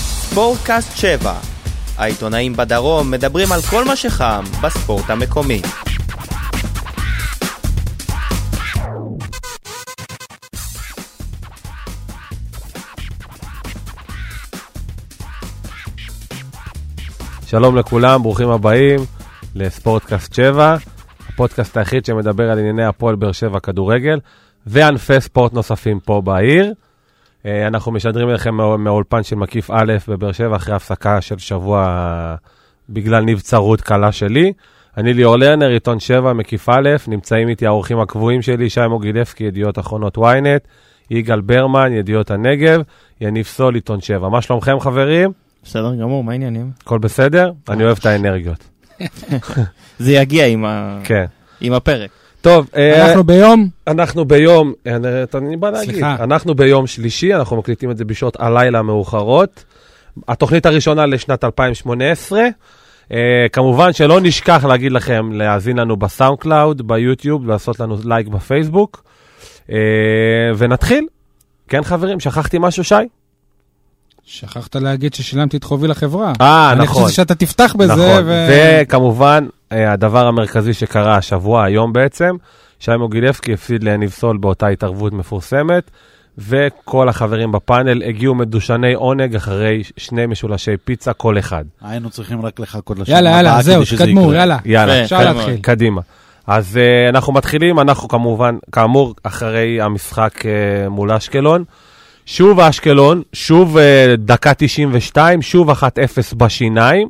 ספורטקאסט 7. העיתונאים בדרום מדברים על כל מה שחם בספורט המקומי. שלום לכולם, ברוכים הבאים לספורטקאסט 7, הפודקאסט היחיד שמדבר על ענייני הפועל באר שבע כדורגל וענפי ספורט נוספים פה בעיר. אה, אנחנו משדרים אליכם מהא- מהאולפן של מקיף א' בבאר שבע אחרי הפסקה של שבוע אה, בגלל נבצרות קלה שלי. אני ליאור לרנר, עיתון 7, מקיף א', נמצאים איתי האורחים הקבועים שלי, שי מוגילבסקי, ידיעות אחרונות ynet, יגאל ברמן, ידיעות הנגב, יניב סול, עיתון 7. מה שלומכם חברים? בסדר גמור, מה העניינים? הכל בסדר? אני אוהב את האנרגיות. זה יגיע עם, ה... כן. עם הפרק. טוב, אה, אנחנו ביום, אנחנו ביום, אה, אתה- אני בא להגיד, סליחה. אנחנו ביום שלישי, אנחנו מקליטים את זה בשעות הלילה המאוחרות. התוכנית הראשונה לשנת 2018. אה, כמובן שלא נשכח להגיד לכם להאזין לנו בסאונד קלאוד, ביוטיוב, לעשות לנו לייק בפייסבוק. אה, ונתחיל. כן חברים, שכחתי משהו שי? שכחת להגיד ששילמתי את חובי לחברה. אה, אני נכון. חושב שאתה תפתח בזה, נכון, ו... וכמובן, אה, הדבר המרכזי שקרה השבוע, היום בעצם, שי מוגילבסקי הפסיד ליניב סול באותה התערבות מפורסמת, וכל החברים בפאנל הגיעו מדושני עונג אחרי ש- שני משולשי פיצה כל אחד. היינו צריכים רק לחכות לשנה יאללה, יאללה, הבאה זהו, כדי שזה תקדמו, יקרה. יאללה. יאללה, אפשר קד- להתחיל. קדימה. אז אה, אנחנו מתחילים, אנחנו כמובן, כאמור, אחרי המשחק אה, מול אשקלון. שוב אשקלון, שוב אה, דקה 92, שוב 1-0 בשיניים.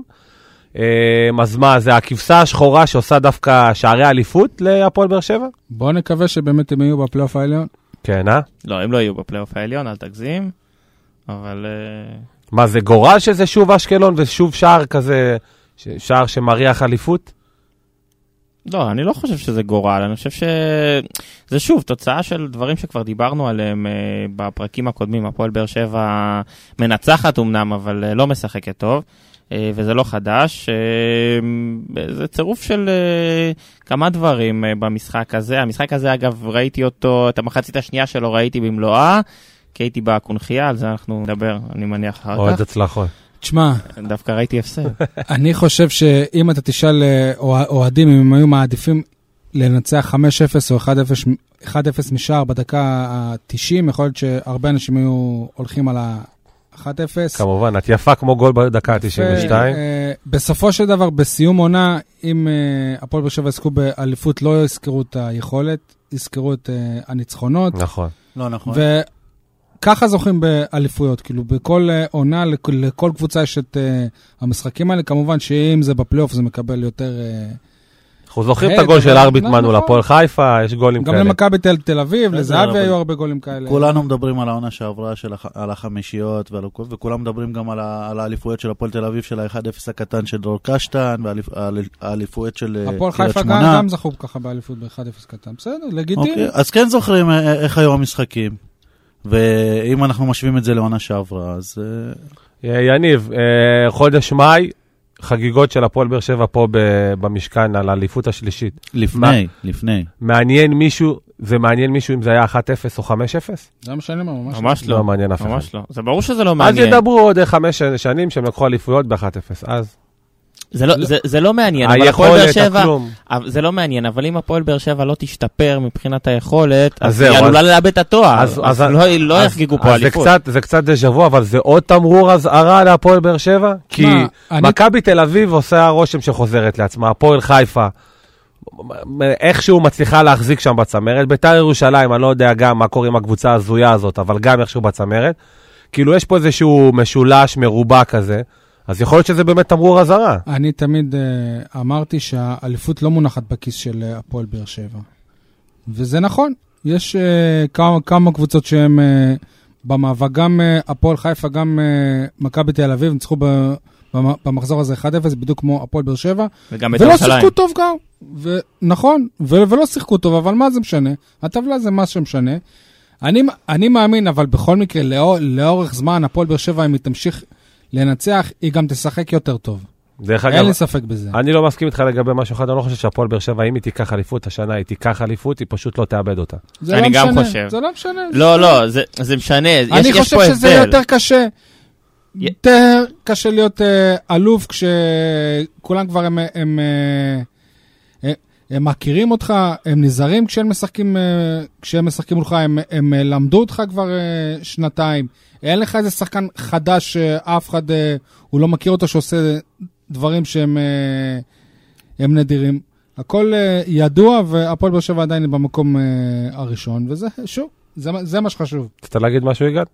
אה, אז מה, זה הכבשה השחורה שעושה דווקא שערי אליפות להפועל באר שבע? בואו נקווה שבאמת הם יהיו בפלייאוף העליון. כן, אה? לא, הם לא יהיו בפלייאוף העליון, אל תגזים, אבל אה, מה, זה גורל שזה שוב אשקלון ושוב שער כזה, ש- שער שמריח אליפות? לא, אני לא חושב שזה גורל, אני חושב ש... זה שוב תוצאה של דברים שכבר דיברנו עליהם אה, בפרקים הקודמים. הפועל באר שבע מנצחת אמנם, אבל אה, לא משחקת טוב, אה, וזה לא חדש. אה, זה צירוף של אה, כמה דברים אה, במשחק הזה. המשחק הזה, אגב, ראיתי אותו, את המחצית השנייה שלו ראיתי במלואה, כי הייתי בקונכייה, על זה אנחנו נדבר, אני מניח, אחר אוהד כך. הצלחות. תשמע, דווקא ראיתי הפסד. אני חושב שאם אתה תשאל אה, אוה- אוהדים אם הם היו מעדיפים לנצח 5-0 או 1-0 מ- 1-0 משער בדקה ה-90, יכול להיות שהרבה אנשים היו הולכים על ה-1-0. כמובן, את יפה כמו גול בדקה ה-92. אה, בסופו של דבר, בסיום עונה, אם אה, הפועל באר שבע יזכו באליפות, לא יזכרו את היכולת, יזכרו את אה, הניצחונות. נכון. לא נכון. וככה זוכים באליפויות, כאילו בכל אה, עונה, לכ- לכל קבוצה יש את אה, המשחקים האלה. כמובן שאם זה בפלייאוף זה מקבל יותר... אה, אנחנו זוכרים את אה, הגול אתה של יודע, ארביט לא, מנול, נכון. הפועל חיפה, יש גולים גם כאלה. למכבי תל תל אביב, בסדר, לזהבי אבל- היו הרבה גולים כאלה. כולנו מדברים על העונה שעברה, של הח- על החמישיות ועל הכל, וכולם מדברים גם על ה- על האליפויות של הפועל תל אביב, של ה-1-0 הקטן של דרור קשטן, והאליפויות של אה, הפועל קריית חיפה גם שמונה. גם זכו ככה באליפות ב-1-0 קטן. בסדר, לגיטימי. אוקיי, אז כן זוכרים אה, איך היו המשחקים, ואם אנחנו משווים את זה לעונה שעברה, אז אה, אה, יניב, אה, חודש מאי, חגיגות של הפועל באר שבע פה ב- במשכן על האליפות השלישית. לפני, לפני. מעניין מישהו, זה מעניין מישהו אם זה היה 1-0 או 5-0? זה מה שאני אומר, ממש. ממש לא לא, מעניין אף אחד. ממש לא. זה ברור שזה לא אז מעניין. ידברו עוד אה, חמש ש- שנים שהם לקחו אליפויות ב-1-0, אז זה לא- זה- זה לא מעניין, אבל הפועל באר היכולת, שבע... הכלום. אבל זה לא מעניין, אבל אם הפועל באר שבע לא תשתפר מבחינת היכולת, אז אז זהו, היא אז- עלולה לאבד את התואר, אז- אז- אז לא- לא אז- יחגגו אז פה זה אליפות. קצת- זה קצת דז'ה וו, אבל זה עוד תמרור אזהרה להפועל באר שבע? כי מה, אני- מכבי תל אביב עושה הרושם שחוזרת לעצמה, הפועל חיפה. איכשהו מצליחה להחזיק שם בצמרת. ביתר ירושלים, אני לא יודע גם מה קורה עם הקבוצה ההזויה הזאת, אבל גם איכשהו בצמרת. כאילו יש פה איזשהו משולש מרובע כזה, אז יכול להיות שזה באמת תמרור אזהרה. אני תמיד אה, אמרתי שהאליפות לא מונחת בכיס של אה, הפועל באר שבע. וזה נכון, יש אה, כמה, כמה קבוצות שהן אה, במאבק, גם אה, הפועל חיפה, גם אה, מכבי תל אביב, ניצחו ב- במ- במחזור הזה 1-0, בדיוק כמו הפועל באר שבע, וגם את ולא ירושלים. שיחקו טוב גם. ו... נכון, ו... ולא שיחקו טוב, אבל מה זה משנה? הטבלה זה מה שמשנה. אני, אני מאמין, אבל בכל מקרה, לאור, לאורך זמן, הפועל באר שבע, אם היא תמשיך לנצח, היא גם תשחק יותר טוב. דרך אין אגב, לי ספק בזה. אני לא מסכים איתך לגבי משהו אחד, אני לא חושב שהפועל באר שבע, אם היא תיקח אליפות השנה, היא תיקח אליפות, היא פשוט לא תאבד אותה. זה אני לא גם משנה, חושב. זה לא משנה. לא, לא, זה- זה משנה, יש אני יש חושב פה שזה הבדל. יותר קשה. י- יותר קשה להיות אה, אלוף כשכולם כבר הם, הם, אה, הם, הם מכירים אותך, הם נזהרים כשהם משחקים, אה, כשהם משחקים מולך, הם, הם אה, למדו אותך כבר אה, שנתיים. אין לך איזה שחקן חדש שאף אחד, אה, הוא לא מכיר אותו, שעושה דברים שהם אה, הם נדירים. הכל אה, ידוע, והפועל באר שבע עדיין היא במקום אה, הראשון, וזה, שוב, זה, מה- זה מה שחשוב. רצית להגיד משהו, יגאל?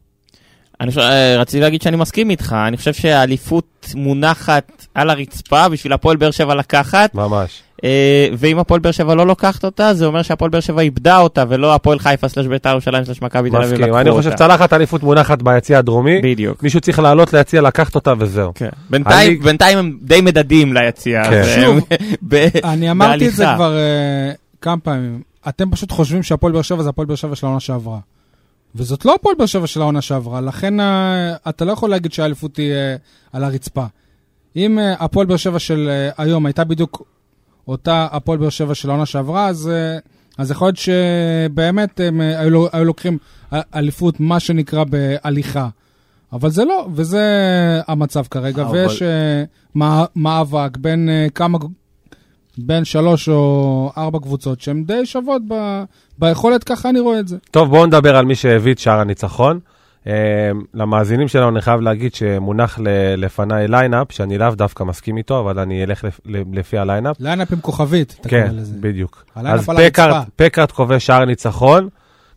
אני חושב, אה, רציתי להגיד שאני מסכים איתך, אני חושב שהאליפות מונחת על הרצפה בשביל הפועל באר שבע לקחת, ממש. אה, ואם הפועל באר שבע לא לוקחת אותה, זה אומר שהפועל באר שבע איבדה אותה, ולא הפועל חיפה סלש בית"ר ירושלים סלש מכבי תל אביב לקחו מסכים. אותה. אני חושב צלחת אליפות מונחת ביציע הדרומי, בדיוק. מישהו צריך לעלות ליציע, לקחת אותה וזהו. כן. בינתיים, אני- בינתיים הם די מדדים ליציע. כן. אז הם- שוב. ב- אני אמרתי את זה בהליכה. כבר אה, כמה פעמים. אתם פשוט חושבים שהפועל באר שבע זה הפועל באר שבע של העונה שעברה. וזאת לא הפועל באר שבע של העונה שעברה, לכן אה, אתה לא יכול להגיד שהאליפות היא אה, על הרצפה. אם אה, הפועל באר שבע של אה, היום הייתה בדיוק אותה הפועל באר שבע של העונה שעברה, אז, אה, אז יכול להיות שבאמת הם אה, היו, לו- היו לוקחים אה, אליפות, מה שנקרא, בהליכה. אבל זה לא, וזה המצב כרגע, אבל- ויש אה, מא- מאבק בין אה, כמה, בין שלוש או ארבע קבוצות שהן די שוות ב, ביכולת, ככה אני רואה את זה. טוב, בואו נדבר על מי שהביא את שער הניצחון. אה, למאזינים שלנו אני חייב להגיד שמונח ל- לפניי ליינאפ, שאני לאו דווקא מסכים איתו, אבל אני אלך לפ- לפי הליינאפ. ליינאפ עם כוכבית, אתה כן, קורא לזה. בדיוק. הליינאפ אז על פקארט- הרצפה. פקארט כובש שער ניצחון.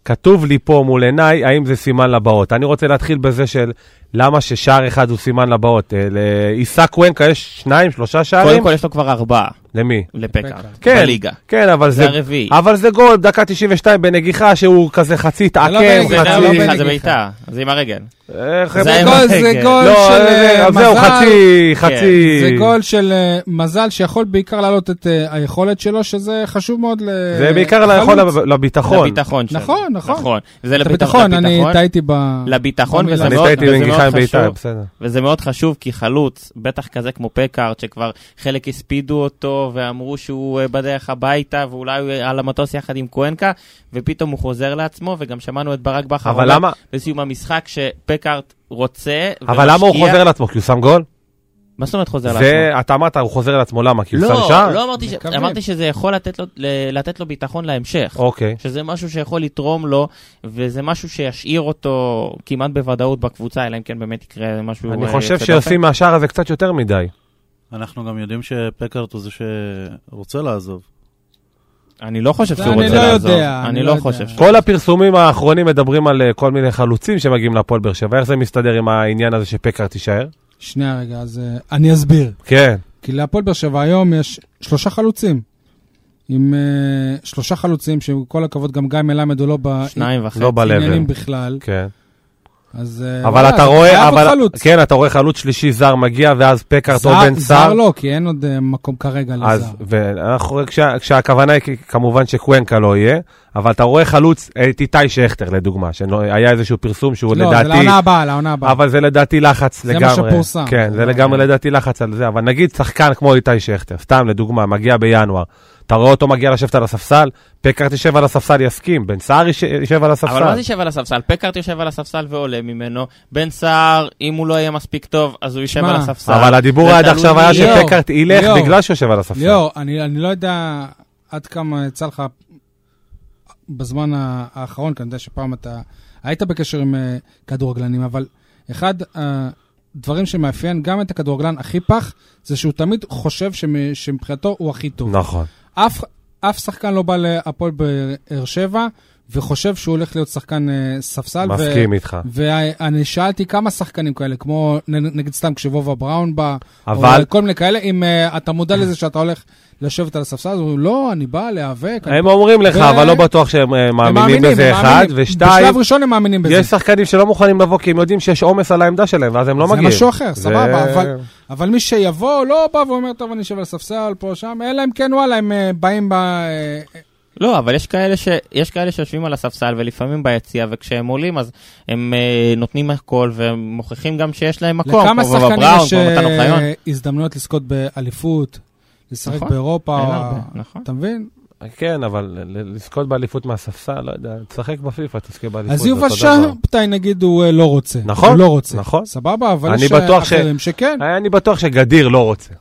כתוב לי פה מול עיניי, האם זה סימן לבאות. אני רוצה להתחיל בזה של למה ששער אחד הוא סימן לבאות. אה, לעיסק ונקה יש שניים, שלושה קודם שערים? כל יש לו כבר ארבעה למי? לפקארט. לפקארט. כן. בליגה. כן, אבל זה זה... הרביעי. אבל זה גול, דקה 92 בנגיחה, שהוא כזה חצי התעכב, לא בנגיחה, זה חצי- לא בליגה, בנגיחה. זה בעיטה, זה עם הרגל. אה, זה חבר'ה, היה- גול, זה כן. גול לא, של אה, אה, אז זהו, מזל, חצי, חצי. זה גול של אה, מזל שיכול בעיקר להעלות את אה, היכולת שלו, שזה חשוב מאוד ל... זה בעיקר לא ליכול לחלוץ. לב- לביטחון. לביטחון שלו. נכון, נכון. זה את לביטח- הביטחון, אני לביטחון. טעיתי לא ב... לביטחון, אני וזה אני מאוד- טעיתי וזה בנגיחה עם מאוד בית"ר, חשוב. בסדר. וזה מאוד חשוב, כי חלוץ, בטח כזה כמו פקארט, שכבר חלק הספידו אותו ואמרו שהוא אה, בדרך הביתה, ואולי הוא על המטוס יחד עם קוונקה, ופתאום הוא חוזר לעצמו, וגם שמענו את ברק בכר אבל אומר למה- בסיום המשחק שפקארט רוצה אבל למה הוא ומשקיע- חוזר לעצמו? כי הוא שם גול? מה זאת אומרת חוזר לעצמו? זה, אתה אמרת, הוא חוזר לעצמו, למה? כי הוא שם לא, שער? לא אמרתי ש... מקווים. אמרתי שזה יכול לתת לו, ל- לתת לו ביטחון להמשך. אוקיי. שזה משהו שיכול לתרום לו, וזה משהו שישאיר אותו כמעט בוודאות בקבוצה, אלא אם כן באמת יקרה משהו... אני אה, חושב יוצא שעושים מהשער הזה קצת יותר מדי. אנחנו גם יודעים שפקארט הוא זה שרוצה לעזוב. דופן. אני לא חושב זה שהוא אני רוצה לא לעזוב. יודע, אני לא יודע. חושב. ש- כל הפרסומים האחרונים מדברים על אה, כל מיני חלוצים שמגיעים להפועל באר שבע. איך זה מסתדר עם העניין הזה שפקר תישאר? שנייה רגע, אז אה, אני אסביר. כן. כי להפועל באר שבע היום יש שלושה חלוצים. עם אה, שלושה חלוצים, שעם כל הכבוד, גם גיא מלמד הוא לא שניים וחצי. לא בלב. בעניינים בכלל. כן. אז... אה, אבל וואלה, אתה אז רואה, חייב עוד אבל... חלוץ. כן, אתה רואה חלוץ שלישי זר מגיע, ואז פקארט או זר- בן סער. זר לא, כי אין עוד אה, מקום כרגע אז, לזר. ואנחנו, כשה, כשהכוונה היא כמובן שקוונקה לא יהיה, אבל אתה רואה חלוץ, אה, את איתי שכטר לדוגמה, שהיה איזשהו פרסום שהוא לא, זה לדעתי, לעונה הבאה, לעונה הבאה. אבל זה לדעתי לחץ זה מה לגמרי. שפורסם. כן, זה לא, לגמרי כן. לדעתי לחץ על זה, אבל נגיד שחקן כמו איתי שכטר, סתם לדוגמה, מגיע בינואר, אתה רואה אותו מגיע לשבת על הספסל, פקארט יושב על הספסל, יסכים, בן סער יש- יושב על אבל מה זה הספסל. יושב על הספסל? פקארט יושב על הספסל ועולה ממנו. בן סער, אם הוא לא יהיה מספיק טוב, אז הוא יישב שמע, על הספסל. אבל הדיבור זה עד תלוי עכשיו היה מי יהיה. ליאור, שפקארט ילך ליאור. בגלל שהוא יושב על הספסל. ליאור, אני, אני לא יודע עד כמה יצא לך בזמן ה- האחרון, כי אני יודע שפעם אתה היית בקשר עם אה, כדורגלנים, אבל אחד הדברים שמאפיין גם את הכדורגלן הכי פח, זה שהוא תמיד חושב שמ- שמבחינתו הוא הכי טוב. נכון. אף, אף שחקן לא בא להפועל באר שבע וחושב שהוא הולך להיות שחקן אה, ספסל. ו- מסכים איתך. ואני שאלתי כמה שחקנים כאלה, כמו נ- נגיד סתם כשבובה בראון בא, אבל- או כל מיני כאלה, אם אה, אתה מודע לזה שאתה הולך לשבת על הספסל, אז אומרים, לא, אני בא להיאבק. אני- הם אומרים לך, ו- אבל לא בטוח שהם אה, מאמינים בזה, הם אחד, מאמינים. ושתיים, בשלב ראשון הם מאמינים בזה. יש שחקנים שלא מוכנים לבוא כי הם יודעים שיש עומס על העמדה שלהם, ואז הם לא זה מגיעים. משהו אחר, זה- סבבה, אבל- אבל מי שיבוא, לא בא ואומר, טוב, אני אשב על הספסל, פה, שם, אלא אם כן, וואלה, הם אה, באים ב... אה, לא, אבל יש כאלה, ש... יש כאלה שיושבים על הספסל ולפעמים ביציע, וכשהם עולים אז הם אה, נותנים הכל והם מוכיחים גם שיש להם מקום. לכמה כמו בבא שחקנים בראון, יש כמו מתן אוחיון. אה, הזדמנויות לזכות באליפות, לשחק נכון, באירופה, אין הרבה, נכון. אתה מבין? כן, אבל ל- ל- לזכות באליפות מהספסל, לא יודע, תשחק בפיפ"א, תזכה באליפות. אז זה אותו יובל דבר. שבתאי נגיד הוא אה, לא רוצה. נכון, הוא לא רוצה. נכון. סבבה, אבל אני יש בטוח ש- אחרים שכן. אה, אני בטוח שגדיר לא רוצה.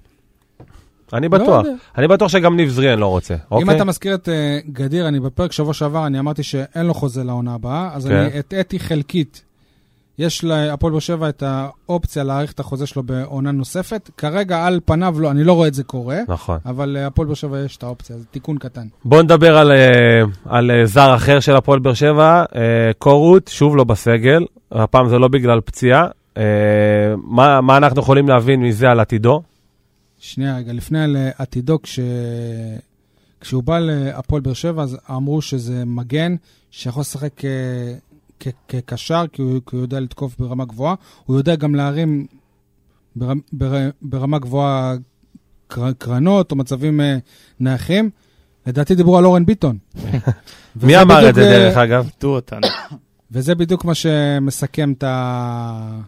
אני לא בטוח. יודע. אני בטוח שגם ניב זריאן לא רוצה. אם אוקיי? אתה מזכיר את אה, גדיר, אני בפרק שבוע שעבר, אני אמרתי שאין לו חוזה לעונה הבאה, אז כן. אני הטעיתי חלקית. יש להפועל באר שבע את האופציה להאריך את החוזה שלו בעונה נוספת. כרגע, על פניו, לא, אני לא רואה את זה קורה, נכון. אבל אה, הפועל באר שבע יש את האופציה, זה תיקון קטן. בואו נדבר על, אה, על אה, זר אחר של הפועל באר שבע, אה, קורות, שוב לא בסגל, הפעם זה לא בגלל פציעה. אה, מה, מה אנחנו יכולים להבין מזה על עתידו? שנייה, רגע, לפני לעתידו, כש... כשהוא בא להפועל באר שבע, אז אמרו שזה מגן שיכול לשחק כ... כ... כקשר, כי הוא... כי הוא יודע לתקוף ברמה גבוהה. הוא יודע גם להרים בר... בר... ברמה גבוהה קר... קרנות או מצבים אה, נייחים. לדעתי דיברו על אורן ביטון. מי וזה אמר את בדיוק, זה אה, דרך אגב? עטו אותנו. וזה בדיוק מה שמסכם את, ה...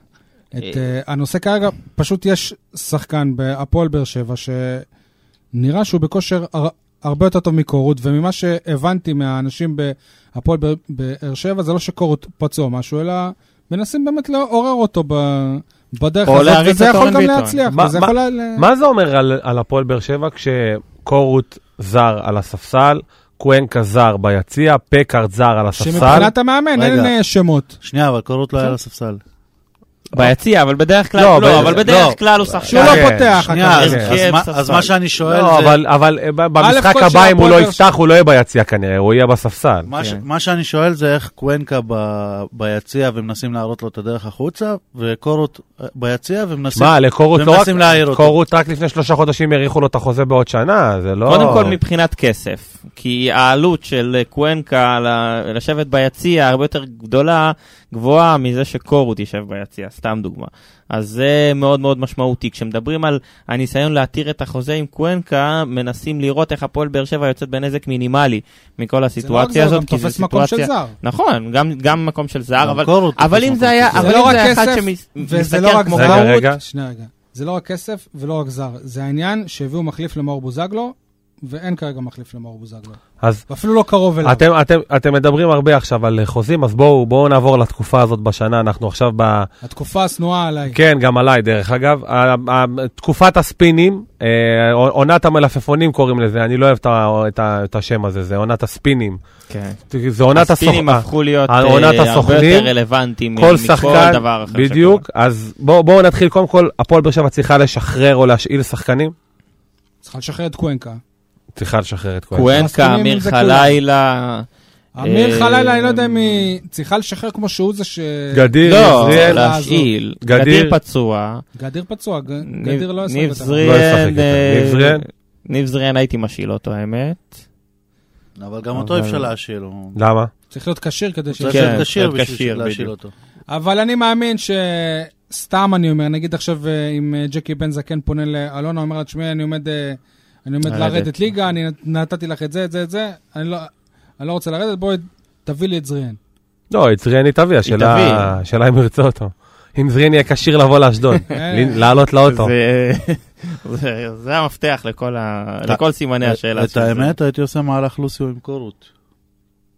את אה, הנושא כרגע. פשוט יש שחקן בהפועל באר שבע שנראה שהוא בכושר הר... הרבה יותר טוב מקורות, וממה שהבנתי מהאנשים בהפועל באר- באר שבע, זה לא שקורות פצוע משהו, אלא מנסים באמת לעורר אותו ב... בדרך או הזאת, להריץ וזה את יכול אורן גם ביטון. להצליח, מה- וזה מה- יכול... ל- מה זה אומר על, על הפועל באר שבע כשקורות זר על הספסל, קוונקה זר ביציע, פקארד זר על הספסל? שמבחינת המאמן אין רגע. אה, שמות. שנייה, אבל קורות לא כן. היה על הספסל. ביציע, אבל בדרך כלל, לא, לא, ב- אבל לא. בדרך כלל הוא שחקן. שהוא לא כן, פותח. שנייה, הכוונה. אז- כן. אז מה- כן, אז ספסל. מה שאני שואל לא, זה... אבל, אבל אה, ב- במשחק כל של הבא, אם הוא הפועל לא באר שבע- יפתח, הוא לא יהיה ביציע כנראה, הוא יהיה בספסל. מה ש- כן. מה שאני שואל זה איך קוונקה ב- ביציע ומנסים להראות לו את הדרך החוצה, וקורות אה, ביציע ומנסים... מה, לקורות לא רק... ומנסים להעיר אותו. קורות רק לפני שלושה חודשים האריכו לו את החוזה בעוד שנה, זה לא... קודם כל מבחינת כסף, כי העלות של אה, קוונקה ל- לשבת ביציע הרבה יותר גדולה, גבוהה מזה שקורות יישב ביציע, סתם דוגמה. אז זה מאוד מאוד משמעותי. כשמדברים על הניסיון להתיר את החוזה עם קוונקה, מנסים לראות איך הפועל באר שבע יוצאת בנזק מינימלי מכל זה לא רק זה, הסיטואציה הוא גם הזאת, כי זו תופס מקום של סיטואציה... זר. נכון, גם, גם מקום של זר, גם אבל, קורות אבל תופס אם מקום זה היה, של אבל זה לא אם רק זה אחד כסף, וזה לא שמסתכל רק כמו זר. רגע, קורות, רגע. שנייה רגע, זה לא רק כסף ולא רק זר, זה העניין שהביאו מחליף למאור בוזגלו, ואין כרגע מחליף למאור בוזגלו. אז ואפילו לא קרוב אליו. אתם, אתם, אתם מדברים הרבה עכשיו על חוזים, אז בואו בואו נעבור לתקופה הזאת בשנה, אנחנו עכשיו ב... התקופה השנואה עליי. כן, גם עליי דרך אגב. ה- ה- תקופת הספינים, אה, עונת המלפפונים קוראים לזה, אני לא אוהב את ה- את ה- את השם הזה, זה עונת הספינים. כן. זה עונת הסוכ... הספינים הפכו להיות אה, עונת הרבה הסוכנים, יותר רלוונטיים מכל כל שחקן, דבר אחר. בדיוק. אז בואו בואו נתחיל, קודם כל, הפועל באר שבע צריכה לשחרר או להשאיל שחקנים? צריכה לשחרר את קוונקה. צריכה לשחרר את שקורה. כהן. קוונקה, מסכימים עם אמיר זה חלילה. אמיר אה, חלילה, אני לא יודע אם היא צריכה לשחרר כמו שהוא זה ש... גדיר, לא, עזריאל, לא. להשאיל. גדיר. גדיר פצוע. גדיר פצוע, ג- ניב- גדיר לא ישחק ניב אותה. לא ישחק זריאן. יותר. אה, ניב זריאן? ניב זריאן הייתי משאיל אותו, האמת. אבל גם אותו אי אבל- אפשר להשאיר. הוא למה? צריך להיות כשיר כדי ש... צריך כן, להיות כשיר להיות כשיר, בשביל להשאיר בדיוק. אותו. אבל אני מאמין ש... סתם אני אומר, נגיד עכשיו אה, אם אה, ג'קי בן זקן פונה לאלונה, אומר לה, תשמעי, אני עומד, אה, אני עומד לרדת. לרדת ליגה, אני נת- נתתי לך את זה, את זה, את זה, אני לא, אני לא רוצה לרדת, בואי, תביא לי את זריאן. לא, את זריאן היא תביא, השאלה תביא. השאלה אם הוא ירצה אותו. אם זריאן יהיה כשיר לבוא לאשדוד, ל- לעלות לאוטו. זה- זה- זה המפתח לכל ה- את- לכל סימני השאלה. את של זה. האמת, הייתי עושה מהלך לוסיו עם קורות.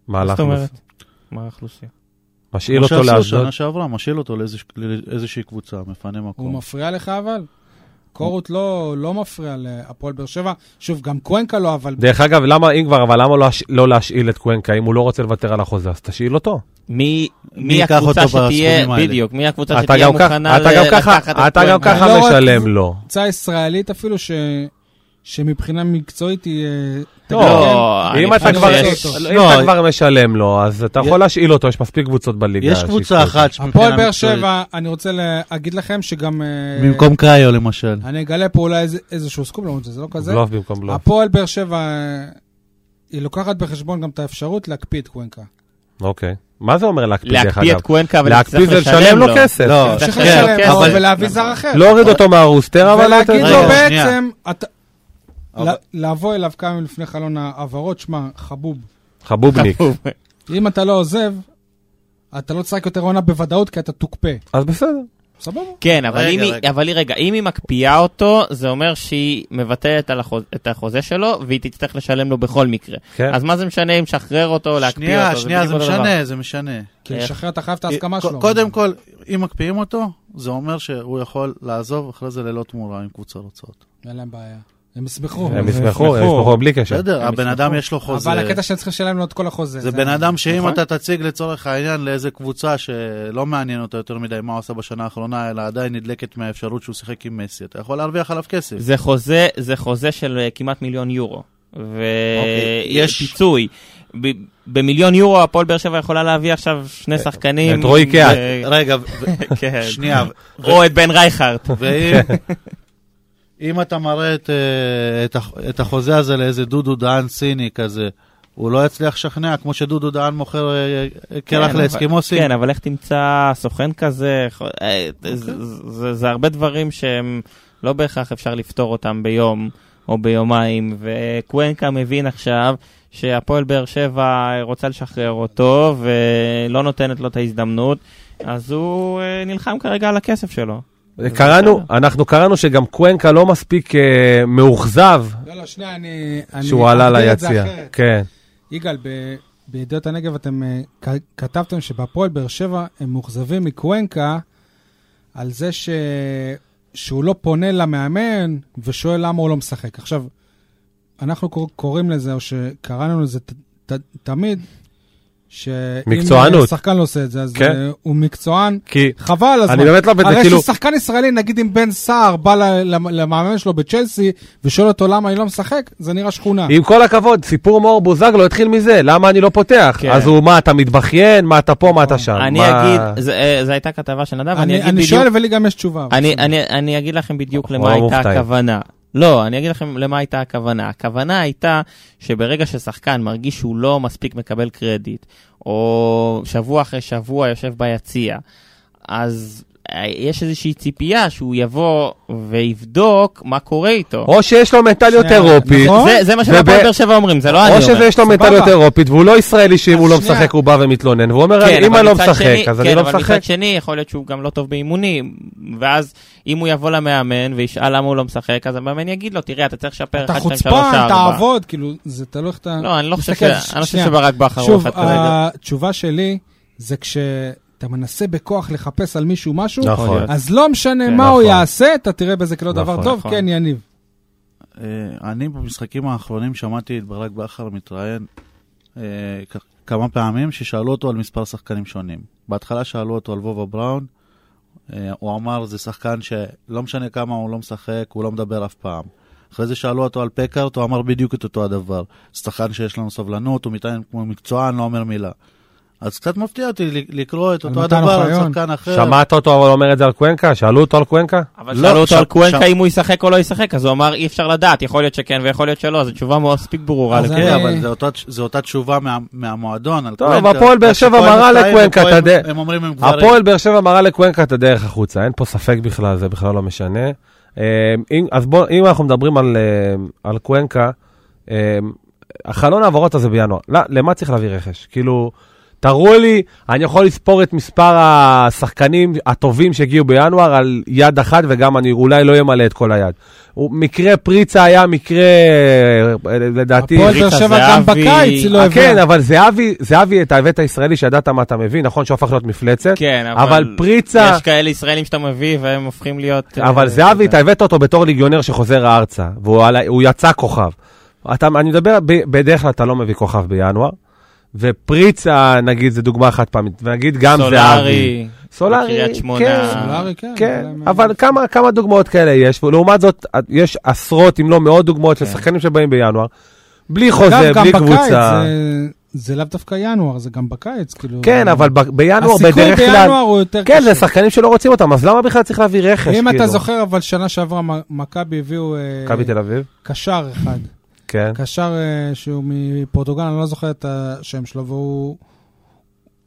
מה מה זאת הלך? אומרת? מה האוכלוסייה? משאיל מה שעשו נכון? אותו לאשדוד. שנה שעברה, משאיל אותו לאיזוש- לאיזושהי קבוצה, מפנה הוא מקום. מפריע לך אבל? קורות לא, לא מפריע להפועל באר שבע. שוב, גם קוונקה לא, אבל דרך אגב, למה, אם כבר, אבל למה לא להש- לא להשאיל את קוונקה? אם הוא לא רוצה לוותר על החוזה, אז תשאיל אותו. מי מי מי ייקח הקבוצה אותו שתהיה, בסכומים האלה? בדיוק, מי הקבוצה אתה שתהיה גם ככה- מוכנה אתה גם ל- ככה- לקחת את אתה גם קוונקה? ככה לא רק- משלם לו. קבוצה ישראלית אפילו ש... שמבחינה מקצועית היא... אה, תגיד, לא, אני אם אתה חושב כבר- שיש- אם לא, אה, אתה כבר משלם לו, אז אתה יש- יכול להשאיל אותו, יש מספיק קבוצות בליגה. יש קבוצה שייקחו אחת כן. שמבחינה הפועל באר מקצועית- שבע, אני רוצה להגיד לכם שגם... אה, במקום קאיו למשל. אני אגלה פה אולי איזה- איזשהו סקופ, למרות שזה לא אותו. כזה. בלוף במקום בלוף. הפועל באר שבע, אה, היא לוקחת בחשבון גם את האפשרות להקפיא את קוונקה. אוקיי. מה זה אומר להקפיא, דרך להקפיא אגב? את קוונקה להקפיא ולהצטרך זה לשלם לו כסף. לא, צריך כן, לשלם כן, לו אבל- ולהביא נכון. זר אחר. להוריד אותו מהרוסטר, לא, אבל... לא, ולהגיד רגע, לו רגע, בעצם, שנייה. אתה- אבל- ל- לבוא אליו כמה ימים לפני חלון ההעברות, שמע, חבוב, חבובניק. אם אתה לא עוזב, אתה לא תשחק יותר עונה בוודאות כי אתה תוקפא. אז בסדר. סבבה. כן, אבל, רגע, אם, היא, רגע. אבל היא, רגע, אם היא מקפיאה אותו, זה אומר שהיא מבטלת על החוז, את החוזה שלו, והיא תצטרך לשלם לו בכל מקרה. כן? אז מה זה משנה אם לשחרר אותו, להקפיא שנייה, לא, אותו? שנייה, זה בדיוק אותו דבר. משנה, זה משנה. כי איך? לשחרר אתה חייב את ההסכמה ק- שלו. אה, קודם כל, אם מקפיאים אותו, זה אומר שהוא יכול לעזוב אחרי זה ללא תמורה, אם קבוצה רוצות. אין להם בעיה. הם ישמחו. הם ישמחו, הם ישמחו. ישמחו בלי קשר. בסדר, הבן אדם יש לו חוזה. אבל הקטע שהם צריכים לשלם לו את כל החוזה. זה בן אדם שאם נכון. אתה תציג לצורך העניין לאיזה קבוצה שלא מעניין אותו יותר מדי מה הוא עשה בשנה האחרונה, אלא עדיין נדלקת מהאפשרות שהוא שיחק עם מסי, אתה יכול להרוויח עליו כסף. זה חוזה, זה חוזה של אה, כמעט מיליון יורו. אוקיי, יש- ופיצוי. במיליון יורו הפועל באר שבע יכולה להביא עכשיו שני אה, שחקנים. את רועי ו- קהת. רגע, ו- כן. שנייה, ו- או את בן רייכרט. ואם אם אתה מראה את, אה, את, הח- את החוזה הזה לאיזה דודו דהן סיני כזה, הוא לא יצליח לשכנע, כמו שדודו דהן מוכר אה, אה, כן, קרח אבל- לאסקימוסים. כן, אבל איך תמצא סוכן כזה? יכול- אה, אוקיי. זה- זה- זה הרבה דברים שהם לא בהכרח אפשר לפתור אותם ביום או ביומיים, וקוונקה מבין עכשיו שהפועל באר שבע רוצה לשחרר אותו ולא נותנת לו את ההזדמנות, אז הוא אה, נלחם כרגע על הכסף שלו. קראנו, אנחנו קראנו שגם קוונקה לא מספיק אה, מאוכזב לא, לא, שנייה, אני... אני שהוא עלה אגדיר את זה ליציע. אחרת. כן. יגאל, ב- בידיעות הנגב אתם אה, כ- כתבתם שבהפועל באר שבע הם מאוכזבים מקוונקה על זה ש... שהוא לא פונה למאמן ושואל למה הוא לא משחק. עכשיו, אנחנו קור- קוראים לזה, או שקראנו לזה ת- ת- תמיד, שאם אה, מקצוענות. שחקן לא עושה את זה, אז כן. אה, הוא מקצוען. כי חבל על הזמן. אני באמת לא, זה הרי כאילו, ששחקן ישראלי, נגיד אם בן סער בא ל- למ- למאמן שלו בצ'לסי ושואל אותו למה אני לא משחק, זה נראה שכונה. עם כל הכבוד, סיפור מאור בוזגלו התחיל מזה, למה אני לא פותח? כן. אז הוא, מה, אתה מתבכיין? מה, אתה פה? מה, אתה שם? אני מה- אגיד, זה- אה, זו הייתה כתבה של נדב, אני אני, אגיד אני בדיוק... שואל ולי גם יש תשובה. אבל אני, בסדר. אני, אני אגיד לכם בדיוק אנחנו למה לא הייתה מופתעים. הכוונה. לא, אני אגיד לכם למה הייתה הכוונה. הכוונה הייתה שברגע ששחקן מרגיש שהוא לא מספיק מקבל קרדיט, או שבוע אחרי שבוע יושב ביציע, אז אה, יש איזושהי ציפייה שהוא יבוא ויבדוק מה קורה איתו. או שיש לו מנטליות שנייה, אירופית, נכון. זה, זה מה וב- שבפועל באר שבע אומרים, זה לא אני או אומר. שיש לו סבבה. מנטליות אירופית, והוא לא ישראלי שאם אז הוא לא שנייה. משחק הוא בא ומתלונן, והוא אומר, כן, אם אבל אני לא מצד משחק, שני- אז כן, אני לא אבל משחק. מצד שני, יכול להיות שהוא גם לא טוב באימונים, ואז אם הוא יבוא למאמן וישאל למה הוא לא משחק, אז המאמן יגיד לו, תראה, אתה צריך לשפר 1, אתה 2, 3, חוצפן, 4. תעבוד, כאילו, זה תלוי איך אתה... לא, אני לא חושב ש- תסתכל, אני לא חושב שנייה. שברק בכר הוא שוב, אה, אחד כרגע. התשובה שלי זה כשאתה מנסה בכוח לחפש על מישהו משהו, נכון. יכול להיות. אז לא משנה כן, מה הוא נכון. יעשה, אתה תראה בזה כלא נכון, דבר טוב, נכון. כן, יניב. אה, אני במשחקים האחרונים שמעתי את ברק בכר מתראיין אה, כ- כמה פעמים ששאלו אותו על מספר שחקנים שונים. בהתחלה שאלו אותו על וובה בראון, אה, הוא אמר זה שחקן שלא משנה כמה הוא לא משחק, הוא לא מדבר אף פעם. אחרי זה שאלו אותו על פקארט, הוא אמר בדיוק את אותו הדבר. שחקן שיש לנו סבלנות, הוא מתראיין כמו מקצוען, לא אומר מילה. אז קצת מפתיע אותי ל- לקרוא את על אותו מתן הדבר על אוחיון. שחקן אחר. שמעת אותו אבל אומר את זה על קוונקה? שאלו אותו על קוונקה? אבל לא, שאלו אותו ש- על קוונקה ש- אם הוא ישחק או לא ישחק, אז הוא אמר, אי אפשר לדעת, יכול להיות שכן ויכול להיות שלא, זו תשובה מאוד מספיק ברורה. אז לכן. כן, אה, אבל זה אותה- זו אותה תשובה מה- מהמועדון על טוב, קוונקה. הפועל באר שבע שפה הם מראה מופתעים לקוונקה, ופה אתה הם- יודע. הם אומרים הם כבר... הפועל באר שבע מראה לקוונקה את הדרך החוצה, אין פה ספק בכלל, זה בכלל לא משנה. אה, אם- אז בוא, אם אנחנו מדברים על, אה, על קוונקה, אה, החלון ההעברות הזה בינואר, לא, למה צריך להביא רכש? כאילו, תראו לי, אני יכול לספור את מספר השחקנים הטובים שהגיעו בינואר על יד אחת, וגם אני אולי לא אמלא את כל היד. הוא- מקרה פריצה היה מקרה, אה, לדעתי... הפועל באר ריצה שבע גם זהבי, בקיץ היא לא אה, כן, הביאה. אבל זהבי, זהבי, אתה הבאת ישראלי שידעת מה אתה מביא, נכון שהוא הפך להיות מפלצת? כן, אבל אבל פריצה, יש כאלה ישראלים שאתה מביא והם הופכים להיות... אה, אבל זהבי, אתה אתה הבאת אותו בתור ליגיונר שחוזר ארצה, והוא עלה- הוא יצא כוכב. אתה, אני מדבר, ב- בדרך כלל אתה לא מביא כוכב בינואר, ופריצה, נגיד, זו דוגמה חד פעמית, ונגיד גם זהבי. סולארי. סולארי, בקריית שמונה. כן, סולארי, כן. כן, אבל הם- אבל כמה, כמה דוגמאות כאלה יש, ולעומת זאת, יש עשרות, אם לא מאות דוגמאות כן. של שחקנים שבאים בינואר, בלי חוזה, אגב, גם בלי בקיץ, קבוצה. זה- זה לאו דווקא ינואר, זה גם בקיץ, כאילו... כן, אבל ב- בינואר הסיכוי בדרך כלל... בינואר הוא יותר קשה. כן, זה שחקנים שלא רוצים אותם, אז למה בכלל צריך להביא רכש? אם כאילו? אתה זוכר, אבל שנה שעברה מ- מכבי הביאו אה, מכבי תל אביב? קשר אחד. כן. קשר אה, שהוא מפורטוגל, אני לא זוכר את השם שלו, והוא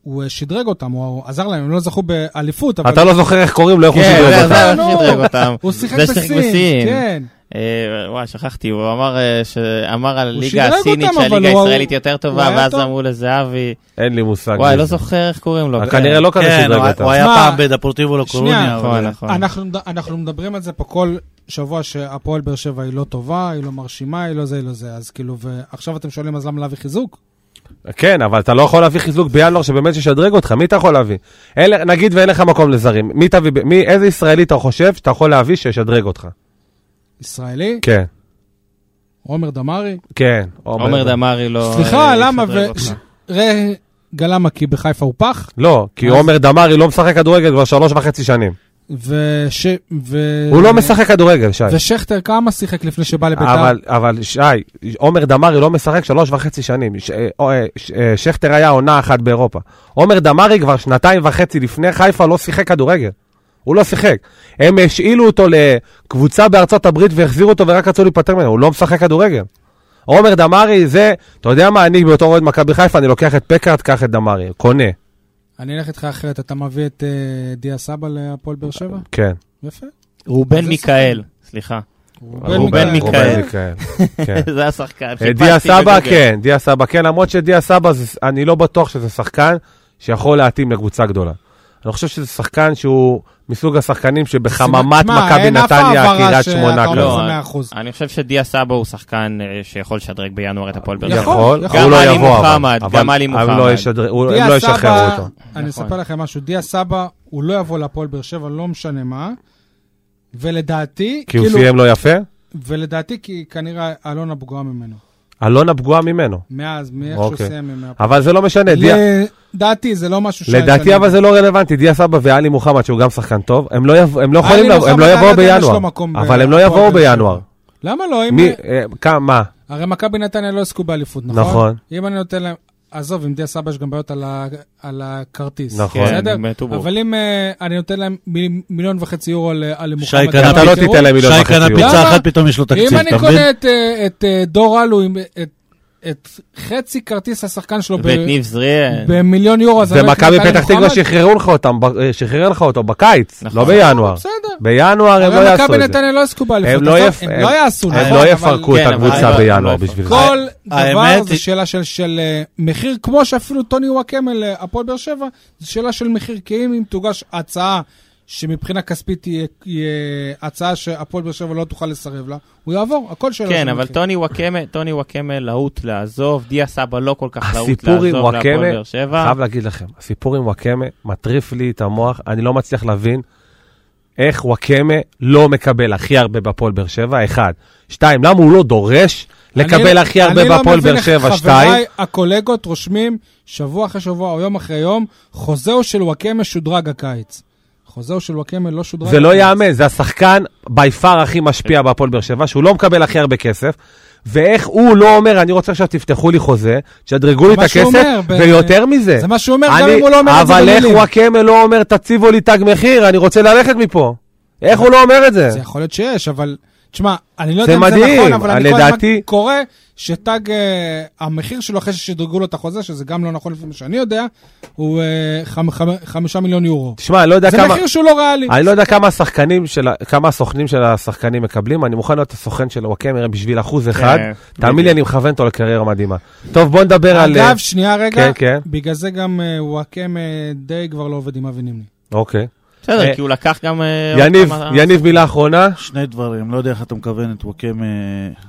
הוא, אה, שדרג אותם, הוא עזר להם, הם לא זכו באליפות, אבל אתה לא זוכר איך קוראים לו, איך הוא כן, שדרג זה- אותם. זה אותם. שדרג אותם. לא, הוא שיחק זה שיחק בסין. בסין. כן. אה, אה, וואי, שכחתי, הוא אמר, אה, ש... אמר על הוא ליגה שדרג הסינית אותם, אבל שהליגה הוא- הישראלית יותר הוא טובה, היה ואז טוב. אמרו לזהבי, אין לי מושג. וואי, מי לא זה. זוכר איך קוראים לו. אבל כנראה לא כזה כן, שדרג הוא- אותם. הוא היה שמע, פעם בדפורטיבו לקורוניה. שנייה, אבל- נכון, נכון. אנחנו, אנחנו מדברים על זה פה כל שבוע שהפועל באר שבע היא לא טובה, היא לא מרשימה, היא לא זה, היא לא זה. אז כאילו, ועכשיו אתם שואלים, אז למה להביא חיזוק? כן, אבל אתה לא יכול להביא חיזוק בינואר שבאמת ישדרג אותך, מי אתה יכול להביא? אין, לך- נגיד ואין לך מקום לזרים, מי תביא, ב- מי, איזה ישראלי אתה חושב שאתה יכול להביא שישדרג אותך? ישראלי? כן, עומר דמארי? כן. עומר דמארי לא... סליחה, אה, למה? ישדרג ו- אותך. ש- ראה, גלמה כי בחיפה הוא פח, לא, כי עומר דמארי לא משחק כדורגל כבר שלוש וחצי שנים. אה. וש... ו... הוא לא משחק כדורגל, שי. ושכטר כמה שיחק לפני שבא לביתר? אבל, אבל שי, עומר דמארי לא משחק שלוש וחצי שנים. ש- אה, אה, ש- אה, שכטר היה עונה אחת באירופה. עומר דמארי כבר שנתיים וחצי לפני חיפה לא שיחק כדורגל. הוא לא שיחק. הם השאילו אותו לקבוצה בארצות הברית והחזירו אותו ורק רצו להיפטר ממנו, הוא לא משחק כדורגל. עומר דמארי זה, אתה יודע מה, אני בתור אוהד מכבי חיפה, אני לוקח את פקארט, קח את דמארי, קונה, אני אלך איתך אחרת, אתה מביא את אה, דיה סבא להפועל באר שבע? כן. יפה. רובן זה מיכאל, סליחה. רובן רובן מיכאל. מיכאל, כן. זה השחקן. אה, חיפשתי דיה סבא בגוגל. כן, דיה סבא כן, למרות שדיה סבא, זה- אני לא בטוח שזה שחקן שיכול להתאים לקבוצה גדולה. אני חושב שזה שחקן שהוא מסוג השחקנים שבחממת תשמע, מכבי אין אף נתניה, העברה קריית שאתה שמונה אומר, לא, כזאת. זה אני- מאה אחוז. אני חושב שדיה סבא הוא שחקן אה, שיכול לשדרג בינואר את הפועל באר שבע. יכול, יכול. הוא גם לא עלי יבוא אבל. מוחמד, גם עלי אבל מוחמד. לא ישדר- הוא- נכון, דיה הם לא סבא- כאילו- ישחררו אותו. אני נכון. אספר לכם משהו, דיה סבא, הוא לא יבוא להפועל באר שבע, לא משנה מה. ולדעתי, כאילו, כי הוא סיים לא יפה? ולדעתי, כי כנראה אלונה פגועה ממנו. אלונה פגועה ממנו. מאז, מאיך שהוא אוקיי. סיים ממנו. אבל זה לא משנה, דיה- לדעתי, זה לא משהו שהיה לדעתי שאני- אבל זה לא רלוונטי, דיה סבא ואלי מוחמד שהוא גם שחקן טוב, הם לא יבוא- הם לא יכולים עלי לבוא, הם לא מוחמד, יבואו אני יודע, יש לו בינואר. מקום אבל הם לא בהפועל יבואו באר שבע. בינואר. למה לא? אם- מי, אה, כמה? הרי מכבי נתניה לא יעסקו באליפות, נכון? נכון. אם אני נותן להם... עזוב, עם דיה סבא יש גם בעיות על ה- על הכרטיס. נכון. בסדר? כן, בטובו. אבל אם אה, אני נותן להם מיל- מיליון וחצי יורו על אה, על מוחמד... שי קנה- אתה לא שירות, תיתן להם מיליון שי וחצי קנה יורו. פיצה למה? אחת, פתאום יש לו תקציב, אם אתה אני מבין? קונה את, אה, את אה, דור אלו עם את, את חצי כרטיס השחקן שלו ב, ואת ניב זריאן. במיליון יורו, אז אני לא ומכבי אקנה את פתח עלי תקווה מוחמד? שחררו לך אותם, ב- אה, שחרר לך אותו בקיץ, נכון. לא בינואר. בסדר. בינואר הם לא הרי יעשו מכבי את זה. נתניה לא יעסקו באליפות, הם לא עזוב, יפ- הם לא יעשו, הם נכון, לא אבל יפרקו את כן, אבל הקבוצה לא- לא בינואר יפרקו. בשביל זה. כל האמת דבר זה היא- שאלה של- של אה, מחיר, כמו שאפילו טוני וואקמל, אה, הפועל באר שבע, זו שאלה של מחיר, כי אם אם תוגש הצעה שמבחינה כספית תהיה תהיה הצעה שהפועל באר שבע לא תוכל לסרב לה, הוא יעבור, הכל שאלה של מחיר. כן, אבל טוני וואקמה, טוני וואקמה להוט לעזוב, דיה סבא לא כל כך להוט הסיפור עם לעזוב וואקמה, להפועל באר שבע. חייב להגיד לכם, הסיפור עם וואקמה מטריף לי את המוח, אני לא מצליח להבין איך וואקמה לא מקבל הכי הרבה בהפועל באר שבע, אחד. שתיים, למה הוא לא דורש לקבל אני- הכי הרבה אני לא בהפועל מבין באר איך שבע, שתיים. חבריי הקולגות רושמים שבוע אחרי שבוע או יום אחרי יום, חוזהו של וואקמה שודרג הקיץ. חוזהו של וואקמה לא כן. שודרג. זה לא הקיץ. ייאמן, זה השחקן בי פאר הכי משפיע בהפועל באר שבע, שהוא לא מקבל הכי הרבה כסף, ואיך הוא לא אומר, אני רוצה עכשיו תפתחו לי חוזה, תשדרגו לי את מה שהוא הכסף, אומר, ב- ויותר מזה. זה מה שהוא אומר, גם אני- אם הוא לא אומר את זה אבל איך במילים. וואקמה לא אומר, תציבו לי תג מחיר, אני רוצה ללכת מפה. איך הוא לא אומר את זה? זה יכול להיות שיש, אבל... תשמע, אני לא זה יודע אם זה מדהים, נכון, אבל אני כל לדעתי- הזמן קורא שטאג, אה, המחיר שלו אחרי ששדרגו לו את החוזה, שזה גם לא נכון לפי מה שאני יודע, הוא אה, חמ- חמ- חמישה מיליון יורו. תשמע, אני לא יודע זה כמה... מחיר שהוא לא ריאלי. אני לא יודע כמה השחקנים של, ה- כמה הסוכנים של השחקנים מקבלים, אני מוכן להיות הסוכן של וואקמה בשביל אחוז אחד. כן, תאמין לי, אני מכוון אותו לקריירה מדהימה. טוב, בוא נדבר על... אגב, שנייה כן, רגע, כן, בגלל זה גם אה, וואקמה די כבר לא עובד עם אבי נימני. אוקיי. בסדר, אה, כי הוא לקח גם... אה, עוד יניב, כמה- יניב מילה אחרונה. שני דברים, לא יודע איך אתה מכוון את וואקם אה,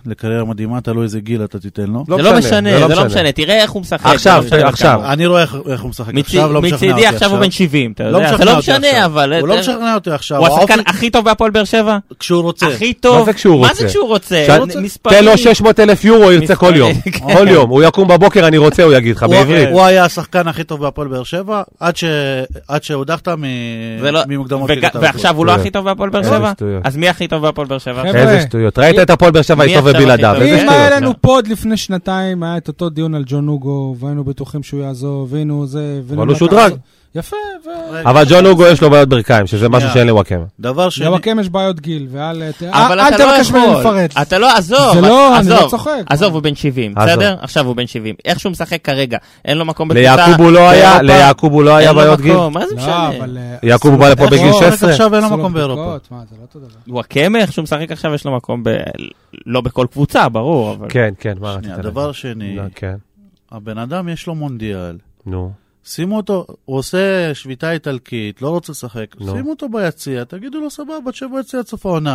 לקריירה מדהימה, תלוי איזה גיל אתה תיתן לו. זה לא משנה, זה לא משנה, תראה איך הוא משחק. עכשיו, זה לא משנה עכשיו. כמה. אני רואה איך איך הוא משחק מצי- עכשיו, לא משכנע אותי מצידי עכשיו הוא בן 70, אתה לא יודע, זה משכנע לא אותי משנה, עכשיו. אבל... הוא לא משכנע אותי עכשיו, הוא השחקן האופי- הכי טוב בהפועל באר שבע? כשהוא רוצה. הכי טוב. מה זה כשהוא מה רוצה? זה כשהוא רוצה? שאני- מספרים. תן לו 600 אלף יורו, ירצה כל יום. כל יום. הוא יקום בבוקר, אני רוצה, הוא יגיד לך, הוא- בעברית. הוא היה השחקן הכי טוב בהפועל באר שבע, עד ש- עד שהודחת מ- זה לא- ממוקדמות וג- ליגת האלופות. ועכשיו הוא לא שטויות. הכי טוב בהפועל באר איזה שבע? אה, שטויות. אז מי הכי טוב בהפועל באר שבע? חבר'ה, איזה שטויות. ראית מי- את הפועל באר שבע מי הסתובב עכשיו הכי בלעדיו, טוב? איזה מי- אם היה לא, שטויות. לנו פוד לפני שנתיים, היה את אותו דיון על ג'ון אוגו, והיינו בטוחים שהוא יעזוב, והנה הוא זה, והנה אבל הוא הוא לקח- שודרג. יפה, ו... רגע, אבל ג'ון הוגו יש לו בעיות ברכיים, שזה משהו שאין לוואקמה. דבר שני, לווקם יש בעיות גיל, ואל אה, ת- אבל אל אתה לא תבקש ממני יכול. לפרט. אתה לא, עזוב. זה לא, אני לא עזוב, צוחק. עזוב, הוא בן 70, עזוב. בסדר? עכשיו הוא בן 70. איך שהוא משחק כרגע, אין לו מקום בקבוצה. ליעקוב הוא לא היה, באירופה, ליעקוב הוא לא היה אין לו בעיות גיל. מקום, מה זה לא, משנה? אבל... אה, יעקוב בא לפה איך- בגיל או, 16. לא, עכשיו אין לו עשו מקום באירופה. בדיקות, מה, זה לא אותו דבר. וואקמה, איך שהוא משחק עכשיו, יש לו מקום ב... לא בכל קבוצה, ברור, אבל... כן, כן, מה רצית שנייה, להגיד? דבר שני, לא, כן, הבן אדם יש לו מונדיאל. נו. שימו אותו, הוא עושה שביתה איטלקית, לא רוצה לשחק, נו. שימו אותו ביציע, תגידו לו סבבה, תשב ביציע עד סוף העונה.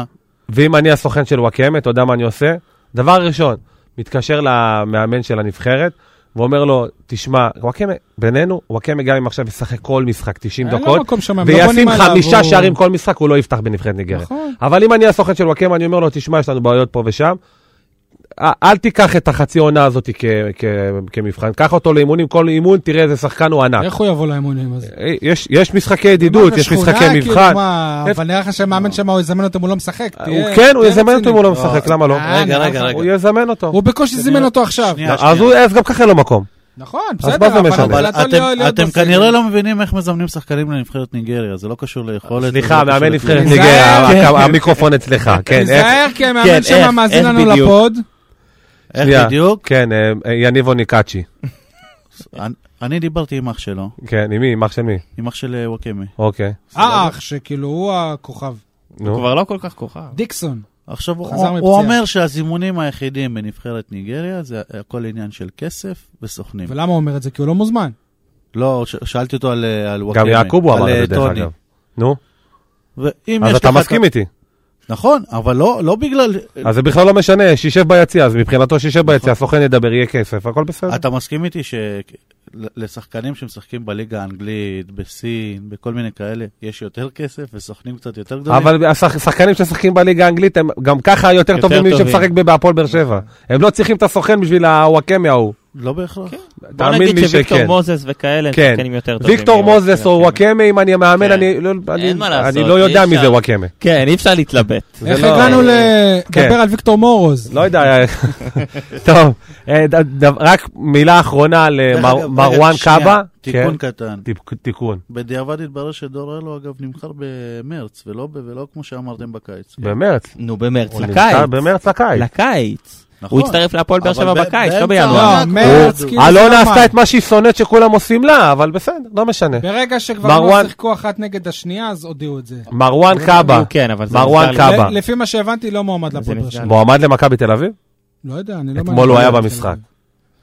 לא, ואם אני הסוכן של וואקמה, אתה יודע מה אני עושה? דבר ראשון, מתקשר למאמן של הנבחרת, ואומר לו, תשמע, וואקמה, בינינו, וואקמה גם אם עכשיו ישחק כל משחק 90 אין לו דקות, מקום שם, הם לא בונים וישים עליו, חמישה הוא- שערים כל משחק, הוא לא יפתח בנבחרת ניגרת. נכון. אבל אם אני הסוכן של וואקמה, אני אומר לו, תשמע, יש לנו בעיות פה ושם. אה, אל תיקח את החצי עונה הזאת כ- כ- כמבחן, קח אותו לאימונים, כל אימון, תראה איזה שחקן הוא ענק. איך הוא יבוא לאימונים הזה? אה, יש, יש משחקי ידידות, נכון. מה, זה יש שכונה? משחקי כאילו, מבחן. מה, איפה- אבל נראה לך שהמאמן שם, הוא יזמן אותו אם הוא לא משחק. הוא תהיה- כן, הוא תהיה יזמן אותו אם הוא לא רציני. משחק, למה לא? אה, רגע, נראה רגע, לך- רגע. הוא יזמן אותו. הוא בקושי זימן אותו עכשיו. אה, שנייה, אז הוא, אז גם ככה אין לו מקום. נכון, אז בסדר. מה זה משנה? אבל לא מבחינתו אתם- להיות- להיות אתם בסגל. כנראה לא מבינים איך מזמנים שחקנים לנבחרת ניגריה, זה לא קשור ליכולת. זה סליחה, לא קשור מאמן לכלום. נבחרת זה- ניגריה, כן. הכ- אה, המיקרופון אצלך, כן. איך- תיזהר, כי כן, המאמן איך, שם מאזין איך לנו בדיוק? לפוד. איך שנייה. בדיוק? כן, אה, אה, יניב אוניקאצ'י. אני- אני דיברתי עם אח שלו, כן, עם מי? עם אח של מי? עם אח של אה, וואקמה. אוקיי. האח, אה, שכאילו הוא הכוכב. הוא נו. כבר לא כל כך כוכב. דיקסון. עכשיו, הוא- חזר הוא מפציעה. אומר שהזימונים היחידים בנבחרת ניגריה זה הכל עניין של כסף וסוכנים. ולמה הוא אומר את זה? כי הוא לא מוזמן. לא, ש- שאלתי אותו על אה, על וואקמה. גם יעקוב הוא על, אמר אה, את זה, דרך טוני. אגב. נו, ואם אז יש אתה לך את- מסכים איתי. נכון, אבל לא לא בגלל... אז זה בכלל לא משנה, שישב ביציע, אז מבחינתו שישב ביציע, הסוכן ידבר, יהיה כסף, הכל בסדר. נכון. אתה מסכים איתי שלשחקנים שמשחקים בליגה האנגלית, בסין, בכל מיני כאלה, יש יותר כסף וסוכנים קצת יותר גדולים? אבל השחקנים שמשחקים בליגה האנגלית הם גם ככה יותר יותר טובים ממי טובים. שמשחק ב- בהפועל באר שבע. הם לא צריכים את הסוכן בשביל הוואקמה ההוא. לא בהכרח. כן. בוא תאמין נגיד לי שוויקטור שכן. מוזס וכאלה הם כן. שחקנים יותר טובים. ויקטור מוואקמה. מוזס או וואקמה, אם אני המאמן, כן. אני לא- אני- מה לעשות, אני לא יודע אי מי אפשר. זה וואקמה. כן, אי אפשר להתלבט. זה איך לא- הגענו לדבר כן. על ויקטור מורוז? לא יודע, טוב, אה, ד- ד- רק מילה אחרונה דרך אגב, למרואן רגע, שנייה, קאבה. תיקון כן. קטן. טיפ- תיקון. בדיעבד התברר שדור אלו, אגב, נמכר במרץ, ולא ב- ולא כמו שאמרתם בקיץ. במרץ. נו, במרץ, הוא נמצא לקיץ. במרץ הקיץ. לקיץ. נכון. הוא הצטרף להפועל באר שבע אבל ב- בקיץ, באמצע לא העונה בינואר. לא, כבר מרץ, ידעו. כאילו- אלונה זה עשתה המים. את מה שהיא שונאת שכולם עושים לה, אבל בסדר, לא משנה. ברגע שכבר מרואן- לא שיחקו אחת נגד השנייה, אז הודיעו את זה. מרואן קאבה, הוא כן, אבל זה מרואן נסגר לי. קאבה. ל- לפי מה שהבנתי, לא מועמד זה לפועל באר נפגע. שבע. מועמד למכבי תל אביב? לא יודע, אני לא... אתמול הוא מעניין. היה במשחק.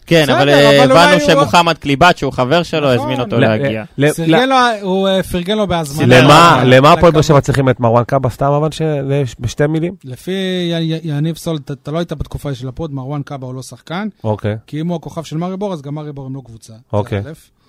כן, בסדר, אבל אבל אה, אולי הבנו הוא- שמוחמד קליבת, שהוא חבר שלו, נכון. הזמין אותו ל- לא אה, להגיע. ל- ל- פרגן לו- הוא אה, פרגן לו בהזמנה. למה למה הפועל באר לכבוד. שבע צריכים את מרואן קאבה סתם אבל ש- לש- בשתי מילים? לפי י- י- יניב סול, אתה- אתה לא היית בתקופה של הפוד, מרואן קאבה הוא לא שחקן, אוקיי. כי אם הוא הכוכב של מארי בור, אז גם מארי בור הם לא קבוצה. זה אוקיי. א'.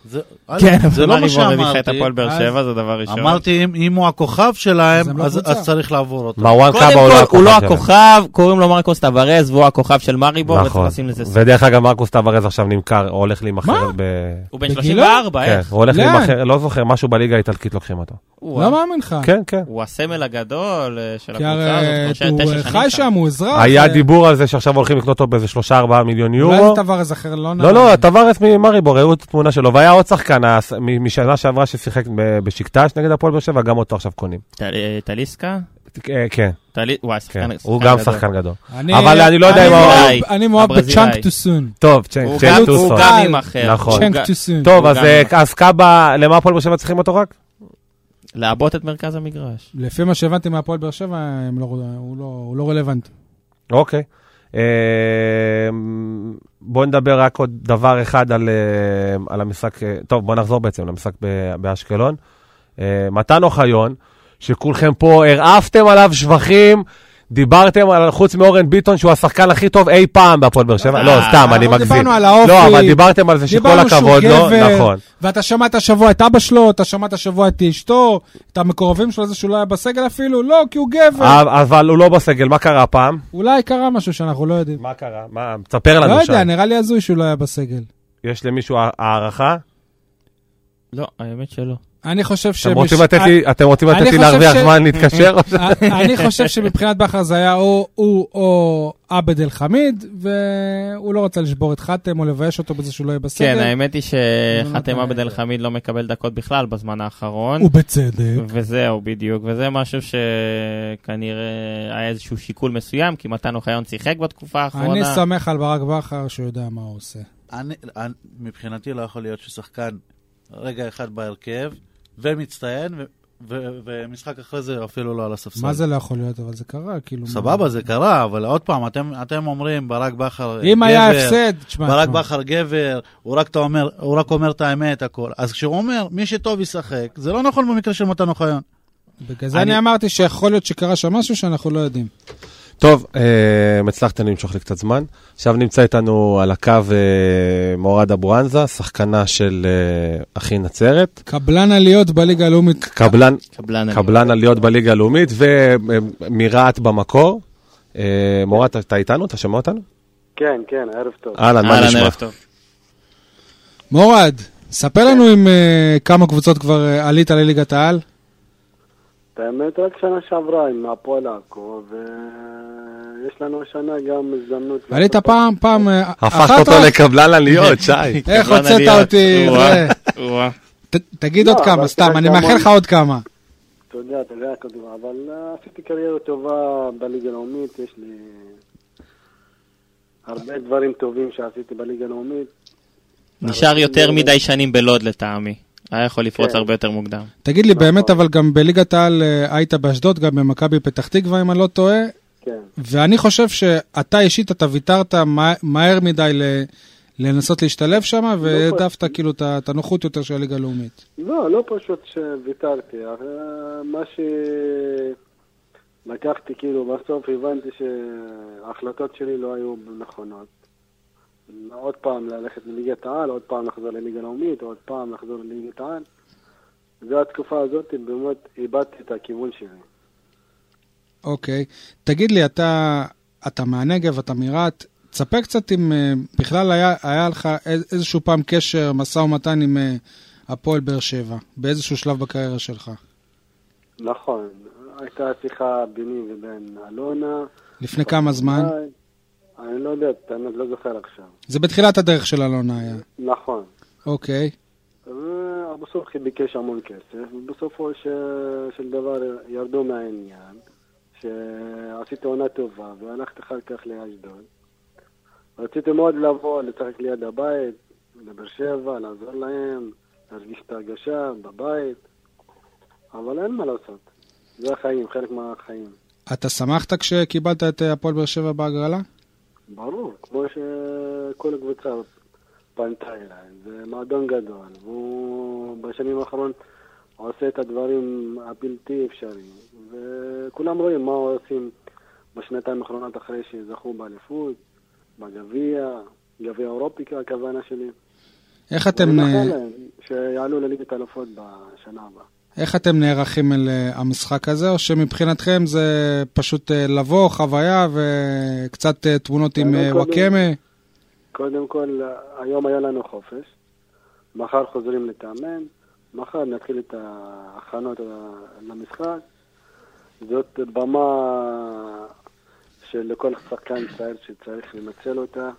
זה- א', כן, זה לא מה את שאמרתי. הפועל באר אז- שבע, זה דבר ראשון. אמרתי, אם- אם הוא הכוכב אז הם שלהם, לא אז קבוצה. אז צריך לעבור אותו. מרואן קודם קאבה כל, הוא לא שלהם. הכוכב, קוראים לו מרקוס טוורז, והוא הכוכב של מאריבור, וצריך נכון. לשים לזה סוף. ודרך אגב, מרקוס טוורז עכשיו נמכר, או הולך להימכר מה? ב... הוא בן בגילו? 34, כן, אה, איך? הוא הולך לאן? להימכר, לא זוכר, משהו בליגה האיטלקית לוקחים אותו. הוא לא מאמין לך. כן, כן. הוא הסמל הגדול אה, של כי הקבוצה הרי הזאת, כבר הוא תשע אה, שנים חי שם, הוא אזרח. היה אה, דיבור על זה שעכשיו הולכים לקנות אותו באיזה 3-4 מיליון אולי יורו. זה טווארז אחר, לא נראה לא, לא, לי. טווארץ ממריבור, ראו את התמונה שלו. והיה עוד שחקן הס- מ- משנה שעברה ששיחק ב- בשקטש נגד הפועל באר שבע, גם אותו עכשיו קונים. טל- אה, טליסקה? אה, כן, טלי- וואי, כן. שחקן הוא שחקן גם גדול. שחקן גדול. אני- אבל אני לא יודע אני אם הוא- מאוהב- אני מאוהב הברזילאי. בצ'אנק טו סון. טוב, צ'נק, הוא צ'נק גם- טו הוא סון. גם עם אחר. נכון. הוא צ'אנק גם- טו סון. טוב, הוא אז גם- אה, אז קאבה, למה הפועל באר שבע צריכים אותו רק? לעבות את מרכז המגרש. לפי מה שהבנתי מהפועל באר שבע, הם לא- הוא לא- הוא לא רלוונטי. אוקיי. אה, בוא נדבר רק עוד דבר אחד על, אה, על המשחק, אה, טוב, בוא נחזור בעצם למשחק ב- באשקלון. אה, מתן אוחיון, שכולכם פה הרעפתם עליו שבחים, דיברתם על, חוץ מאורן ביטון, שהוא השחקן הכי טוב אי פעם בהפועל באר שבע, לא, אה, סתם, אני אנחנו מגזים. דיברנו על האופי. לא, אבל דיברתם על זה שכל דיברנו שהוא הכבוד לו, גבר, נכון. ואתה שמעת השבוע את אבא שלו, אתה שמעת השבוע את אשתו, את המקורבים שלו, זה שהוא לא היה בסגל אפילו, לא, כי הוא גבר. אבל- אבל הוא לא בסגל, מה קרה הפעם? אולי קרה משהו שאנחנו לא יודעים. מה קרה? מה, תספר לא לנו יודע, שם. נראה לי הזוי שהוא לא היה בסגל. יש למישהו הערכה? לא, האמת שלא. אני חושב ש... אתם רוצים לתת לי- אתם רוצים אני לתת לי חושב להרוויח ש- זמן להתקשר? או ש- אה, אני חושב שמבחינת בכר זה היה או הוא או עבד אל חמיד, והוא לא רצה לשבור את חתם או לבייש אותו בזה שהוא לא יהיה כן, בסגל. האמת היא שחתם נתן- עבד אל חמיד לא מקבל דקות בכלל בזמן האחרון. ובצדק. וזהו, בדיוק, וזה משהו שכנראה היה איזשהו שיקול מסוים, כי מתן אוחיון שיחק בתקופה אני האחרונה. סומך על ברק בכר שהוא יודע מה הוא עושה. אני, אני, מבחינתי לא יכול להיות ששחקן רגע אחד בהרכב, ומצטיין, ו, ו, ומשחק אחרי זה אפילו לא על הספסל. מה זה לא יכול להיות, אבל זה קרה, כאילו... מה- סבבה, זה קרה, אבל עוד פעם, אתם, אתם אומרים, ברק בכר אם גבר, היה הפסד, תשמע... ברק תשמע. בכר גבר, הוא רק, אתה אומר, הוא רק אומר את האמת, הכל. אז כשהוא אומר, מי שטוב ישחק, זה לא נכון במקרה של מתן אוחיון. בגלל זה אני אני- אמרתי שיכול להיות שקרה שם משהו שאנחנו לא יודעים. טוב, אה, הצלחתם למשוך לי קצת זמן. עכשיו נמצא איתנו על הקו אה, מורד אבואנזה, שחקנה של אה, אחי נצרת. קבלן עליות בליגה הלאומית. קבלן, קבלן. קבלן עליות בליגה הלאומית ומרהט במקור. אה, מורד, אתה איתנו? אתה שומע אותנו? כן, כן, ערב טוב. אה. אהלן, מה אהלן, נשמע? ערב טוב. מורד, ספר לנו עם אה, כמה קבוצות כבר אה, עלית לליגת העל. את האמת, רק שנה שעברה עם הפועל עכו, ויש לנו השנה גם הזדמנות... עלית לעשות- פעם, פעם... אה, הפכת אחת אותו רק? לקבלן עליות, שי. איך קבלן הוצאת עליות. אותי, וואה, זה. וואה. ת- תגיד לא, עוד כמה, אבל סתם, תראה אני כמה- מאחל לך עוד כמה. אתה יודע, אתה יודע, כדור, אבל אה, עשיתי קריירה טובה בליגה הלאומית, יש לי הרבה דברים טובים שעשיתי בליגה הלאומית. נשאר יותר מדי שנים בלוד לטעמי. היה יכול לפרוץ כן. הרבה יותר מוקדם. תגיד לי, נכון. באמת, אבל גם בליגת העל אה, היית באשדוד, גם במכבי פתח תקווה, אם אני לא טועה, כן, ואני חושב שאתה אישית, אתה ויתרת מה- מהר מדי ל- לנסות להשתלב שם, והעדפת כאילו את ה- את הנוחות יותר של הליגה הלאומית. לא, לא פשוט שוויתרתי, אה, מה שלקחתי, כאילו, בסוף הבנתי שההחלטות שלי לא היו נכונות. עוד פעם ללכת לליגת העל, עוד פעם לחזור לליגה לאומית, עוד פעם לחזור לליגת העל. והתקופה הזאת באמת איבדתי את הכיוון שלי. אוקיי. תגיד לי, אתה, אתה מהנגב, אתה מרהט, תספר קצת אם אה, בכלל היה, היה לך איז- איזשהו פעם קשר, משא ומתן עם אה, הפועל באר שבע, באיזשהו שלב בקריירה שלך, נכון, הייתה שיחה ביני ובין אלונה. לפני כמה זמן? אולי, אני לא יודע, את האמת לא זוכר עכשיו. זה בתחילת הדרך של אלונה היה. נכון. אוקיי. ואבו סובחי ביקש המון כסף, ובסופו ש... של דבר ירדו מהעניין, שעשיתי עונה טובה, והלכתי אחר כך לאשדוד. רציתי מאוד לבוא, לשחק ליד הבית, לבאר שבע, לעזור להם, להרגיש את ההרגשה בבית, אבל אין מה לעשות. זה החיים, חלק מהחיים. אתה שמחת כשקיבלת את אה, הפועל באר שבע בהגרלה? ברור, כמו שכל הקבוצה פנתה אליי, זה מועדון גדול, והוא בשנים האחרונות עושה את הדברים הבלתי אפשריים, וכולם רואים מה עושים בשנתיים האחרונות אחרי שזכו באליפות, בגביע, גביע אירופי הכוונה שלי. איך אתם, ואני אה, מאחל להם שיעלו לליגת האלופות בשנה הבאה. איך אתם נערכים אל אה, המשחק הזה, או שמבחינתכם זה פשוט אה, לבוא, חוויה וקצת אה, תמונות עם אה, קודם- וואקמה? קודם כל, היום היה לנו חופש, מחר חוזרים לתאמן, מחר נתחיל את ההכנות למשחק. זאת במה שלכל שחקן צעיר שצריך לנצל אותה,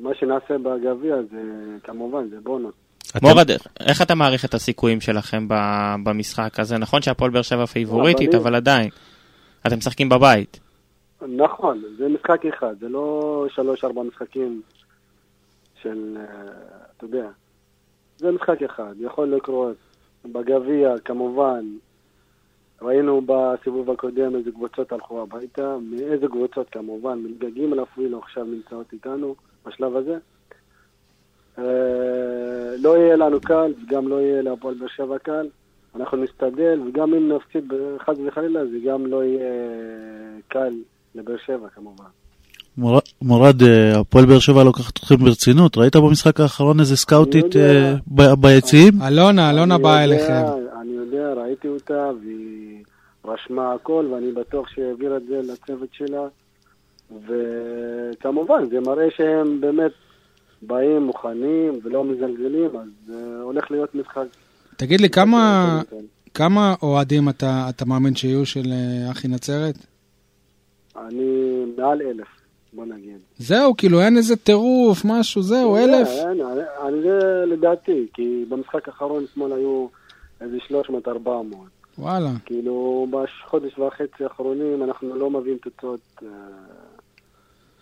ומה שנעשה בגביע זה כמובן, זה בונוס. אתם- מורד, איך אתה מעריך את הסיכויים שלכם ב- במשחק הזה? נכון שהפועל באר שבע פייבוריטית, אבל- אבל עדיין. אתם משחקים בבית. נכון, זה משחק אחד, זה לא שלוש-ארבע משחקים של, אה, אתה יודע, זה משחק אחד, יכול לקרות. בגביע, כמובן, ראינו בסיבוב הקודם איזה קבוצות הלכו הביתה, מאיזה קבוצות כמובן, מליגה ג' אפילו לא עכשיו נמצאות איתנו בשלב הזה. אה, לא יהיה לנו קל, גם לא יהיה להפועל באר שבע קל. אנחנו נשתדל, וגם אם נפסיד חס וחלילה, זה גם לא יהיה אה, קל לבאר שבע כמובן. מור- מורד, אה, הפועל באר שבע לוקחת אתכם ברצינות, ראית במשחק האחרון איזה סקאוטית לא אני יודע. אה, ב- ביציעים? אלונה, אלונה אני באה יודע, אליכם. אני יודע, ראיתי אותה, והיא רשמה הכל, ואני בטוח שהיא העבירה את זה לצוות שלה. וכמובן, זה מראה שהם באמת באים, מוכנים ולא מזלזלים, אז אה, הולך להיות משחק. תגיד לי, כמה, כמה אוהדים אתה, אתה מאמין שיהיו של אה, אחי נצרת? אני מעל אלף, בוא נגיד. זהו, כאילו אין איזה טירוף, משהו, זהו, אלף. לא, אין, אני- אני זה לדעתי, כי במשחק האחרון אתמול היו איזה 300-400. וואלה. כאילו, בחודש וחצי האחרונים אנחנו לא מביאים תוצאות אה,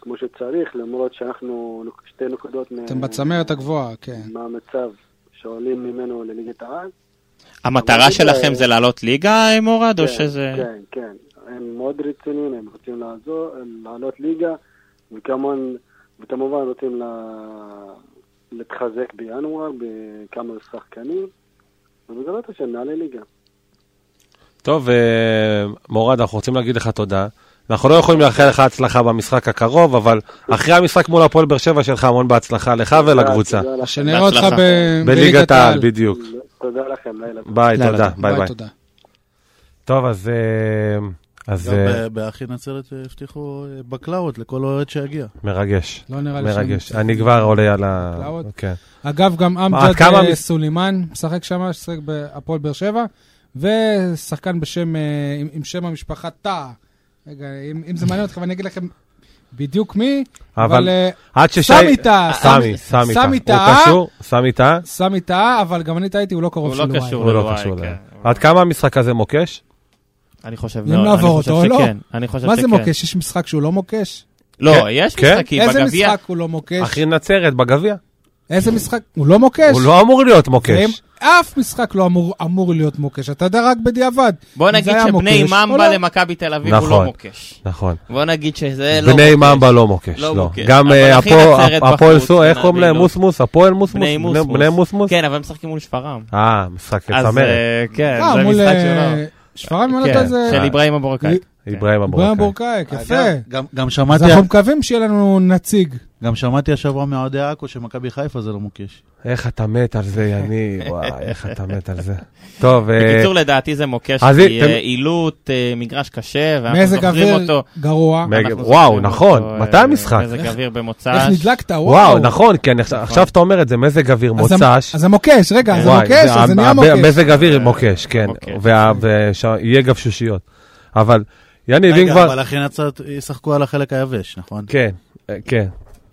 כמו שצריך, למרות שאנחנו נוק- שתי נקודות מה- אתם בצמרת הגבוהה, כן. מהמצב שעולים ממנו לליגת העל. המטרה אבל שלכם זה- זה לעלות ליגה, אה, מורד, או כן, לא שזה... כן, כן. הם מאוד רציניים, הם רוצים לעזור, לעלות ליגה, וכמובן, וכמובן רוצים לה- להתחזק בינואר בכמה שחקנים, ובעזרת השם נעלה ליגה. טוב, אה, מורד, אנחנו רוצים להגיד לך תודה. אנחנו לא יכולים לאחל לך הצלחה במשחק הקרוב, אבל אחרי המשחק מול הפועל באר שבע שלך המון בהצלחה לך ולקבוצה. תודה לכם. שנראה אותך בהצלחה. ב- בליגת העל, בדיוק. תודה לכם, לילה טוב. ביי, לילה תודה, טוב, ביי ביי. תודה. טוב, אז... אה, אז גם אה, ב- באחי נצרת אה, הבטיחו אה, בקלאות לכל אוהד שיגיע. מרגש, לא נראה לי מרגש. שהם- אני כבר עולה על ה... הקלעות? כן. אגב, גם עד כמה אמג'ד אה, מס- סולימאן משחק שם, שחק בהפועל באר שבע, ושחקן בשם, אה, עם- עם שם המשפחה טאה. רגע, אם אם זה מעניין אתכם, אני אגיד לכם בדיוק מי, אבל אבל אה, עד ששי... סמי טאה, סמי, סמי סמי טאה. סמי הוא טאה. קשור? סמי טאה? סמי טאה, אבל גם אני טעיתי, הוא לא קרוב הוא של לא וואי. קשור. הוא לא וואי, קשור אליהם. כן. עד כמה המשחק הזה מוקש? אני חושב אם מאוד, נעבור אני חושב אותו או לא? שכן. אני חושב שכן. מה זה מוקש? יש משחק שהוא לא מוקש? כן, לא, יש כן. משחקים איזה בגביע. משחק הוא לא מוקש? אחי נצרת בגביע. איזה משחק? הוא לא מוקש? הוא לא אמור להיות ואם- מוקש. אף משחק לא אמור- אמור להיות מוקש, אתה יודע רק בדיעבד. בוא אם זה נגיד היה שבני מוקש או ממבה לא. למכבי תל אביב הוא לא נכון. מוקש. נכון. בוא נגיד שזה לא... בני מוקש. ממבה לא מוקש, לא לא. מוקש. גם אבל אה, אחי הפועל- נצרת הפועל בחוץ, סו, איך קוראים בני להם? לא. מוסמוס? הפועל מוסמוס? בני מוסמוס. בני מוסמוס? כן, אבל הם משחקים מול שפרעם. אה, משחק אז צמרת. אה, כן, אה, זה מול משחק אה, שלו. שפרעם, אם אני לא כן, טועה, זה... של איברהים אבורקאי. איברהים בריאן אבורקאי. בורקאייק, יפה. אגב, גם- גם אז שמעתי- אנחנו מקווים שיהיה לנו נציג. גם שמעתי השבוע מאוהדי עכו שמכבי חיפה זה לא מוקש. איך אתה מת על זה, יני, וואי, איך אתה מת על זה. טוב, אה, בקיצור, לדעתי זה מוקש, אז כי אתם- אה, אילוט, אה, מגרש קשה, ואנחנו מזג זוכרים אוויר אותו. גרוע. מג- אנחנו וואו, זוכרים נכון. אותו, מתי אה, המשחק? מזג אוויר במוצ"ש. איך נדלקת, וואו. וואו, נכון, כי אני עכשיו- עכשיו אתה אומר את זה, מזג אוויר אז המ- מוצ"ש. אז זה מוקש, רגע, אז זה וואי, מוקש, אז זה נהיה הב- מוקש. מזג אוויר מוקש, כן. מוקש. ויהיה גבשושיות. אבל, יניב, אם רגע, כבר... אבל אחי נצרת ישחקו על החלק היבש, נכון? כן, אה, כן.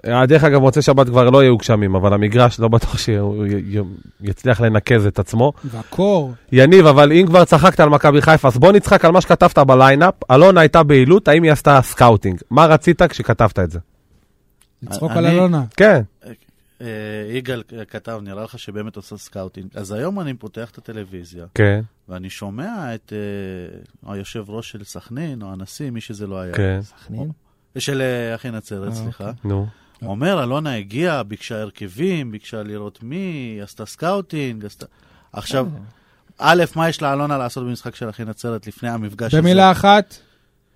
אה, דרך אגב, מוצאי שבת כבר לא יהיו גשמים, אבל המגרש לא בטוח שהוא י- י- יצליח לנקז את עצמו. והקור. יניב, אבל אם כבר צחקת על מכבי חיפה, אז בוא נצחק על מה שכתבת בליינאפ. אלונה הייתה בעילות, האם היא עשתה סקאוטינג? מה רצית כשכתבת את זה? לצחוק אני- על אלונה. כן, אה, יגאל אה, כתב, נראה לך שבאמת עושה סקאוטינג. אז היום אני פותח את הטלוויזיה, כן, ואני שומע את אה, היושב ראש של סכנין, או הנשיא, מי שזה לא היה. כן, סכנין? של אה, אחי נצרת, סליחה. נו. אומר, אלונה הגיעה, ביקשה הרכבים, ביקשה לראות מי, עשתה סקאוטינג, עשתה... עכשיו, אה. א', מה יש לאלונה לעשות במשחק של אחי נצרת לפני המפגש הזה? במילה אחת,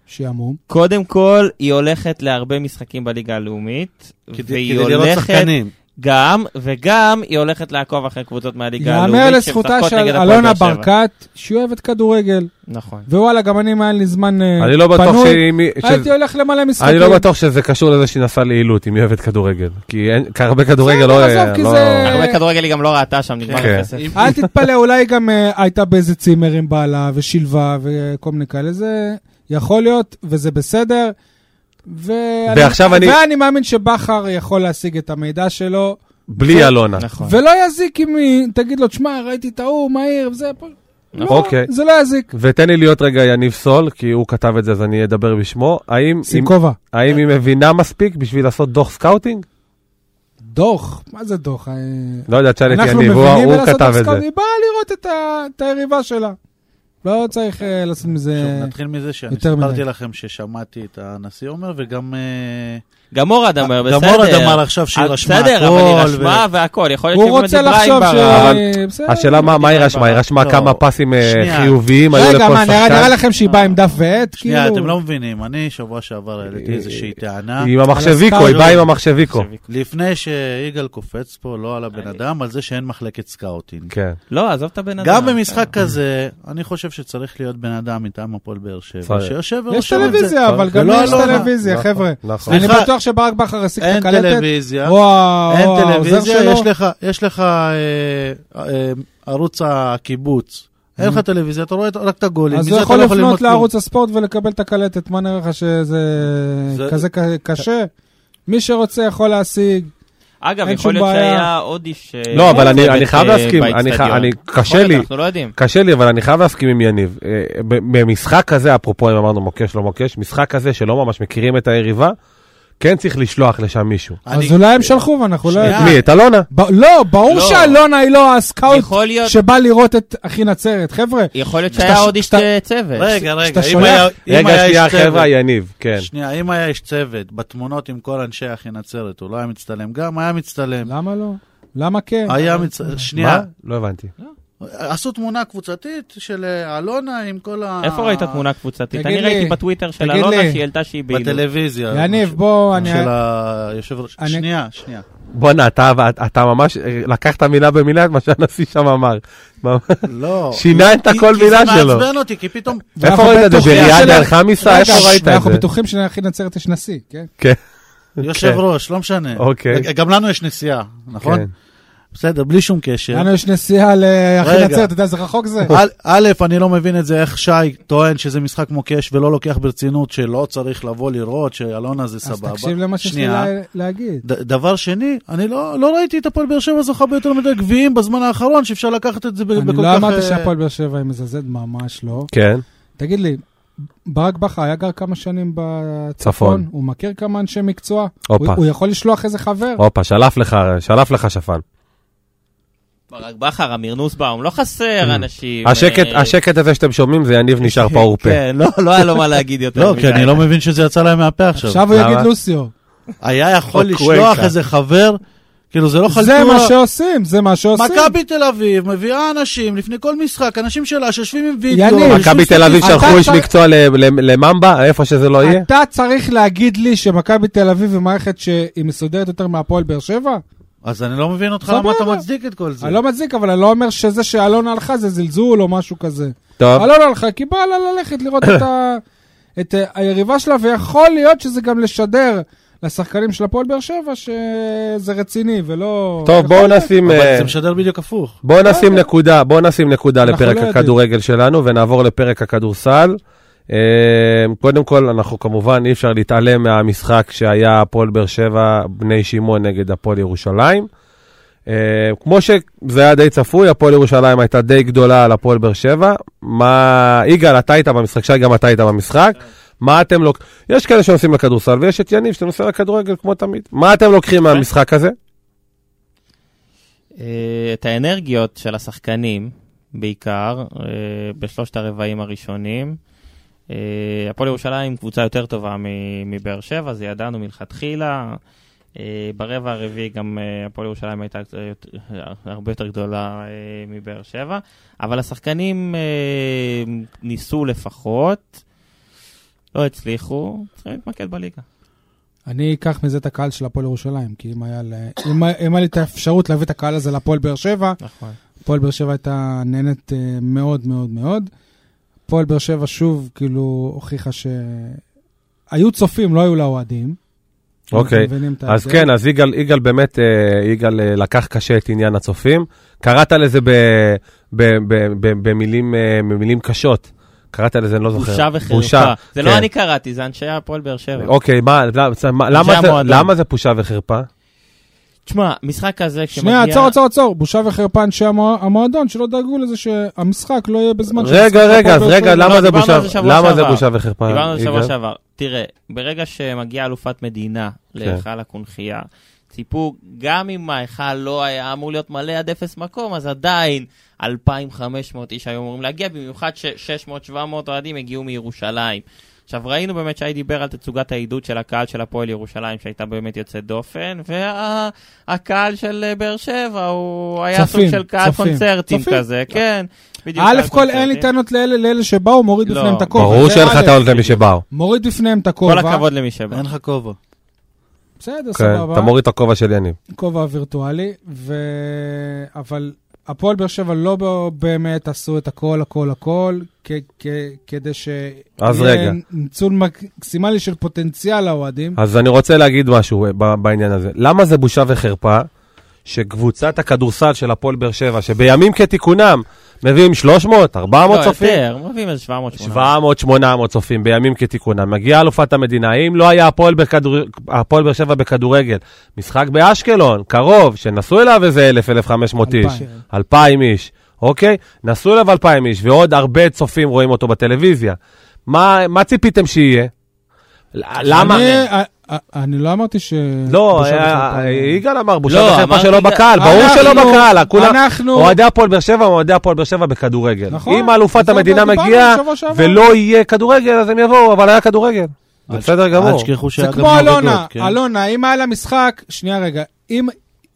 שעמום. קודם כל, היא הולכת להרבה משחקים בליגה הלאומית, כדי והיא כדי לראות הולכת שחקנים. גם, וגם היא הולכת לעקוב אחרי קבוצות מהליגה הלאומית יאמר לזכותה שמשחקות של נגד הפועל אלונה באר שבע. ברקת, שהיא אוהבת כדורגל. נכון. ווואלה, גם אני, אם היה לי זמן אה, אני לא בטוח פנוי, שהיא... מי- שזה- הייתי הולך למלא משחקים. אני לא בטוח שזה קשור לזה שהיא נסעה לעילות, אם היא אוהבת כדורגל. כי אין- כי הרבה כדורגל בסדר, לא... עזוב, כי לא- זה- הרבה כדורגל היא גם לא ראתה שם, נגמר כן. הכסף. אל תתפלא, אולי היא גם אה, הייתה באיזה צימר עם בעלה ושילבה וכל מיני כאלה. זה יכול להיות, וזה בסדר. ואני, ועכשיו אני- ואני מאמין שבכר יכול להשיג את המידע שלו, בלי אלונה. נכון. ולא יזיק אם היא תגיד לו, תשמע, ראיתי את ההוא, מהיר, וזה... פה." לא, אוקיי. זה לא יזיק. ותן לי להיות רגע יניב סול, כי הוא כתב את זה אז אני אדבר בשמו. האם, שים אם- כובע. האם היא מבינה מספיק בשביל לעשות דוח סקאוטינג? דוח, מה זה דוח? אה, לא יודע, תשאל את אנחנו יניב, הוא- מבינים הוא בלעשות כתב את אבסקוט, זה. היא באה לראות את ה- את היריבה שלה. לא צריך אה, לעשות מזה... שוב, נתחיל מזה שאני יותר סיפרתי מדי. לכם ששמעתי את הנשיא אומר, וגם אה, גם מורד אמר, בסדר. גם אורן אמר עכשיו שהיא אז רשמה הכל. בסדר, אבל היא רשמה ו- והכל, יכול להיות הוא שהיא רוצה באמת דיברה עם לחשוב ש... ברק. בסדר. אה, השאלה מה מה היא רשמה, היא רשמה לא. כמה פסים אה, שנייה. חיוביים היו רגע, לכל מה, נראה נראה שחקן. לכם שהיא באה עם דף ועט? שנייה, כאילו- אתם לא מבינים, אני שבוע שעבר אה, העליתי איזושהי אה, טענה. עם המחשביקו, היא הסקאוטינג. באה עם המחשביקו. לפני שיגאל קופץ פה, לא על הבן אדם, על זה שאין מחלקת סקאוטינג. כן, לא, עזוב את הבן אדם. גם במשחק כזה, אני חושב שצריך להיות בן אדם מטעם הפועל באר שבע, צריך. שיושב יש ורושם את זה. טלוויזיה, לא, אבל גם ולא יש אלונה. טלוויזיה, נכון, חבר'ה. נכון. אני לא, סליחה, בטוח מצב שברק בכר השיג את אין הקלטת, טלוויזיה, או ה- אין או העוזר טלוויזיה, יש שלו, לך, יש לך אה, אה, ערוץ הקיבוץ. אין לך טלוויזיה, אתה רואה את- רק את הגולים. Mm. אז מזה הוא אתה יכול לא ללמוד לפנות כלום. לערוץ הספורט ולקבל את הקלטת. מה נראה לך שזה זה- כזה ק- קשה? מי שרוצה יכול להשיג. אגב, אין יכול שום להיות בעיה. שהיה אודיש... אה, לא, אבל אני- בבית, אני חייב אה, להסכים, אני חי- באצטדיון. אני- יכול קשה להיות, לי. אנחנו לא יודעים. קשה לי, אבל אני חייב להסכים עם יניב. אה, ב- במשחק כזה, אפרופו אם אמרנו מוקש לא מוקש, משחק כזה שלא ממש מכירים את היריבה, כן צריך לשלוח לשם מישהו. אני- אז אולי הם שלחו ואנחנו לא שנייה. יודעים. אה. מי? את אלונה? ב- לא, ברור לא. שאלונה היא לא הסקאוט יכול להיות- שבא לראות את אחי נצרת. חבר'ה, יכול להיות כשאתה- שהיה עוד איש כשאתה- אה, צוות. רגע, רגע, כשאתה אם היה- שולח- אם רגע, היה איש שנייה, צוות- חבר'ה, יניב, כן. שנייה, אם היה איש צוות בתמונות עם כל אנשי אחי נצרת, הוא לא היה מצטלם גם, היה מצטלם. למה לא? למה כן? היה מצטלם, מה? שנייה, לא הבנתי. עשו תמונה קבוצתית של אה, אלונה עם כל ה... איפה ראית תמונה קבוצתית? תגיד אני לי, ראיתי בטוויטר של תגיד אלונה לי. שהיא העלתה שהיא בעילות. בטלוויזיה. יניב, בוא, אני... כאילו. של היושב ראש. אני- שנייה, שנייה. בואנה, אתה- אתה ממש אה, לקחת מילה במילה את מה שהנשיא שם אמר. ממש. לא. שינה את הכל כי- מילה כי זה שלו. מעצבן אותי, כי פתאום... איפה ואנחנו ראית את זה? בטוחים בריאד שלא- אלחמיסה? איפה רגע, ראית את זה? אנחנו בטוחים שלאחי נצרת יש נשיא, כן? כן, יושב ראש, לא משנה. אוקיי. גם לנו יש נסיעה, נכון? כן. בסדר, בלי שום קשר. לנו יש נסיעה לאחי רגע. נצרת, אתה יודע איזה רחוק זה? אה, א', א', אני לא מבין את זה, איך שי טוען שזה משחק מוקש ולא לוקח ברצינות, שלא צריך לבוא לראות, שאלונה זה אז סבבה. תקשיב למה שיש לי שנייה. לה- להגיד. ד- דבר שני, אני לא, לא ראיתי את הפועל באר שבע זוכה ביותר מדי גביעים בזמן האחרון, שאפשר לקחת את זה ב- בכל אני כך... לא אמרתי אה, שהפועל באר שבע היא מזלזלת, ממש לא. כן. תגיד לי, ברק בכר היה גר כמה שנים צפון. בצפון, הוא מכיר כמה אנשי מקצוע? הופה. הוא- הוא יכול לשלוח איזה חבר? הופה, שלף לך, שלף לך שפן. ברק בכר, אמיר נוסבאום, לא חסר אנשים. אה. השקט, אה, השקט הזה שאתם שומעים זה יניב נשאר פעור פה. כן, לא- לא היה לו מה להגיד יותר. אה, לא, מדי. כי אני לא מבין שזה יצא להם מהפה עכשיו. עכשיו הוא יגיד למה? לוסיו. היה יכול או לשלוח קוונקה. איזה חבר, כאילו זה לא חלטורה. זה מה שעושים, זה מה שעושים. מכבי תל אביב מביאה אנשים לפני כל משחק, אנשים שלה שיושבים עם וידאו. יניב. יושבים מכבי תל אביב אתה שלחו איש צריך- מקצוע ל- ל- לממבה, איפה שזה לא אה, יהיה. אתה צריך להגיד לי שמכבי תל אביב היא מערכת שהיא מסודרת יותר מהפועל באר שבע? אז אני לא מבין אותך סבבה. למה אתה מצדיק את כל זה. אני לא מצדיק, אבל אני לא אומר שזה שאלונה הלכה זה זלזול או משהו כזה. אה. טוב, אלונה הלכה כי בא לה ללכת לראות את ה- את אה, היריבה שלה, ויכול להיות שזה גם לשדר לשחקנים של הפועל באר שבע שזה רציני ולא... טוב, יכול בואו להיות. נשים... אה, אבל זה משדר בדיוק הפוך. בואו נשים נקודה, בואו נשים נקודה לא אנחנו לפרק לא יודעים. הכדורגל שלנו ונעבור לפרק הכדורסל. אה, קודם כל, אנחנו כמובן, אי אפשר להתעלם מהמשחק שהיה הפועל באר שבע, בני שמעון נגד הפועל ירושלים. אה, כמו שזה היה די צפוי, הפועל ירושלים הייתה די גדולה על הפועל באר שבע. מה, יגאל, אתה היית במשחק, שי, גם אתה היית במשחק. כן. מה אתם לוק... יש כאלה שנוסעים לכדורסל ויש את יניב שנוסע לכדורגל כמו תמיד. מה אתם כן. לוקחים מהמשחק הזה? אה, את האנרגיות של השחקנים, בעיקר, אה, בשלושת הרבעים הראשונים. אה, הפועל ירושלים קבוצה יותר טובה מ- מבאר שבע, זה ידענו מלכתחילה. אה, ברבע הרביעי גם אה, הפועל ירושלים הייתה קצת יותר- הרבה יותר גדולה אה, מבאר שבע, אבל השחקנים אה, ניסו לפחות, לא הצליחו, צריכים להתמקד בליגה. אני אקח מזה את הקהל של הפועל ירושלים, כי אם היה ל- אם היה- אם היה לי את האפשרות להביא את הקהל הזה לפועל באר שבע, נכון. הפועל באר שבע הייתה נהנית אה, מאוד מאוד מאוד. הפועל באר שבע שוב, כאילו, הוכיחה ש... היו צופים, לא היו לה אוהדים. אוקיי, אנחנו מבינים את אז ההבדל. כן, אז יגאל, יגאל באמת, אה, יגאל אה, לקח קשה את עניין הצופים. קראת לזה ב, ב, ב, ב, במילים, אה, במילים קשות. קראת לזה, אני לא זוכר. בושה וחרפה. בושה, זה כן. לא אני קראתי, זה אנשי הפועל באר שבע. אוקיי, מה, למה, למה, למה, זה, המועדון. למה זה בושה וחרפה? תשמע, משחק כזה, כשמגיע... שנייה, עצור, עצור, עצור. בושה וחרפה אנשי המוע- המועדון שלא דאגו לזה שהמשחק לא יהיה בזמן רגע, שהמשחק רגע, הפועל אז באר רגע, שבע. למה זה דיברנו בושה על זה שבוע למה זה שעבר. בושה וחרפה? דיברנו על זה יגאל? שבוע שעבר. תראה, ברגע שמגיעה אלופת מדינה להיכל הקונכייה, ציפו, גם אם ההיכל לא היה אמור להיות מלא עד אפס מקום, אז עדיין 2,500 איש היו אמורים להגיע, במיוחד ש-600-700 אוהדים הגיעו מירושלים. עכשיו, ראינו באמת שי דיבר על תצוגת העידוד של הקהל של הפועל ירושלים, שהייתה באמת יוצאת דופן, והקהל של אה, באר שבע הוא היה צופים, סוג של קהל צופים, קונצרטים צופים. לא. כזה, כן. בדיוק, אוקיי. א' קהל כל אין לי קונצרטים. טענות לאלה לאלה שבאו, מוריד לא, בפניהם את הכובע. ברור זה שאין לך א'. טענות למי שבאו. מוריד בפניהם את כל הכובע. הכבוד למי שבא. אין לך כובע. בסדר, כן, סבבה. אתה מוריד את הכובע של יניב. כובע וירטואלי, ו... אבל הפועל באר שבע לא ב- באמת עשו את הכל, הכל, הכל, כ- כ- כדי ש... אז יהיה רגע. ניצול מקסימלי של פוטנציאל האוהדים. אז אני רוצה להגיד משהו אה, ב- בעניין הזה. למה זה בושה וחרפה שקבוצת הכדורסל של הפועל באר שבע, שבימים כתיקונם מביאים 300, 400 לא, צופים, יותר, מביאים איזה 700 800. 700, 800 צופים בימים כתיקונם, מגיעה אלופת המדינה. אם לא היה הפועל בכדור- הפועל באר שבע בכדורגל, משחק באשקלון, קרוב, שנסעו אליו איזה 1,000, 1,500 איש. אלפיים. 2,000 איש, אוקיי? נסעו אליו 2,000 איש, ועוד הרבה צופים רואים אותו בטלוויזיה. מה, מה ציפיתם שיהיה? למה? אני- א- א- אני לא אמרתי ש... אה, לא, בושה היה- וחרפה. יגאל אמר, בושה לא, וחרפה אמרתי שלא יגאל. בקהל, ברור אנחנו- שלא בקהל, אה, כולם... אנחנו... אוהדי הפועל באר שבע הם אוהדי הפועל באר שבע בכדורגל. נכון, אם אלופת זה המדינה דיברנו מגיעה בשבוע שעבר. ולא יהיה כדורגל, אז הם יבואו, אבל היה כדורגל. זה אל- בסדר אל גמור. תשכחו זה שהיה גם כמו אלונה, נובי גוד, כן? אלונה, אם היה לה משחק, שנייה רגע, אם-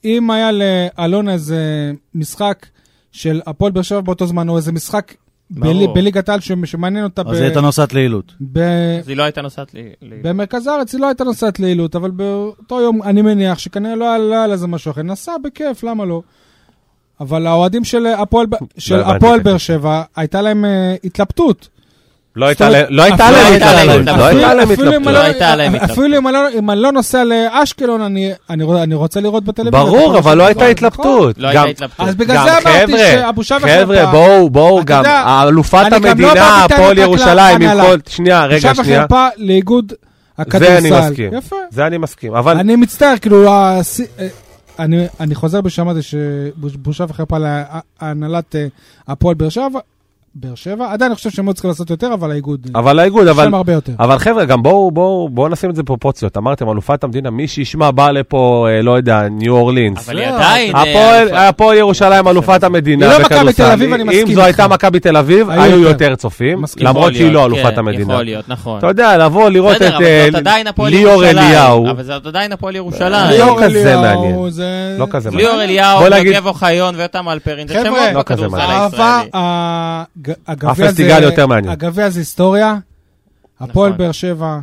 אם היה לאלונה איזה משחק של הפועל באר שבע באותו זמן, או איזה משחק בלי- ברור. בליגת העל ש- שמעניין אותה אז ב- היא הייתה נוסעת לעילות. ב- אז היא לא הייתה נוסעת לי... לי- במרכז הארץ היא לא הייתה נוסעת לעילות, אבל באותו יום אני מניח שכנראה לא עלה על איזה משהו אחר. נסע בכיף, למה לא? אבל האוהדים של הפועל לא ב- של הבנתי, הפועל כן. באר שבע, הייתה להם אה, התלבטות. לא זאת הייתה אומרת, להם לא הייתה אפילו- להם לא הייתה להם התלבטות. לא הייתה להם אפילו אם התלבטות. אני לא- הייתה להם אפילו אם אני לא- אם אני לא נוסע לאשקלון, אני- אני רוצ- אני רוצה לראות בטלוויזיה. ברור, אבל לא הייתה נכון. התלבטות. לא הייתה גם- התלבטות. אז בגלל גם, זה אמרתי חבר'ה, שהבושה וחרפה. חבר'ה, בואו, בואו אתה גם, יודע, אלופת אני גם לא המדינה, באתי הפועל טענות רק ירושלים, עם להנהלה. כל... שנייה, רגע, בושה שנייה. וחרפה לאיגוד הכדורסל. זה אני מסכים. יפה. זה אני מסכים, אבל... אני מצטער, כאילו, הס- אה, אני- אני חוזר בשמעתי שבושה וחרפה להנהלת אה, הפועל באר שבע. באר שבע, עדיין אני חושב שהם לא צריכים לעשות יותר, אבל האיגוד, אה, אבל האיגוד, יש אבל... להם הרבה יותר. אבל חבר'ה, גם בואו, בואו, בואו נשים את זה בפרופורציות. אמרתם, אלופת המדינה, מי שישמע בא לפה, אה, לא יודע, ניו אורלינס. אבל היא לא. עדיין... אה, הפועל- אלופה. הפועל ירושלים אלופת המדינה היא לא מכבי בכדורסל. תל אביב, אני מסכים אם זו הייתה איתך. מכבי תל אביב, היו היו יותר. יותר צופים, מסכים. למרות יכול שהיא לא להיות, אלופת כן, המדינה. יכול להיות, נכון. אתה יודע, לבוא לראות את בסדר, אבל זאת אה, עדיין הפועל ליאור ירושלים. אליהו. אבל זאת עדיין הפועל ירושלים. לא כזה אליהו, מעניין. זה- לא כזה מעניין. ליאור אליהו, בוא נגיד- יוגב אוחיון ויותם אלפרין, זה חבר'ה, שמות לא כזה בכדורסל מעניין. אהבה, הישראלי. ה- הג- הגביע זה... הפסטיגל יותר מעניין. הגביע זה היסטוריה. הפועל נכון. באר שבע,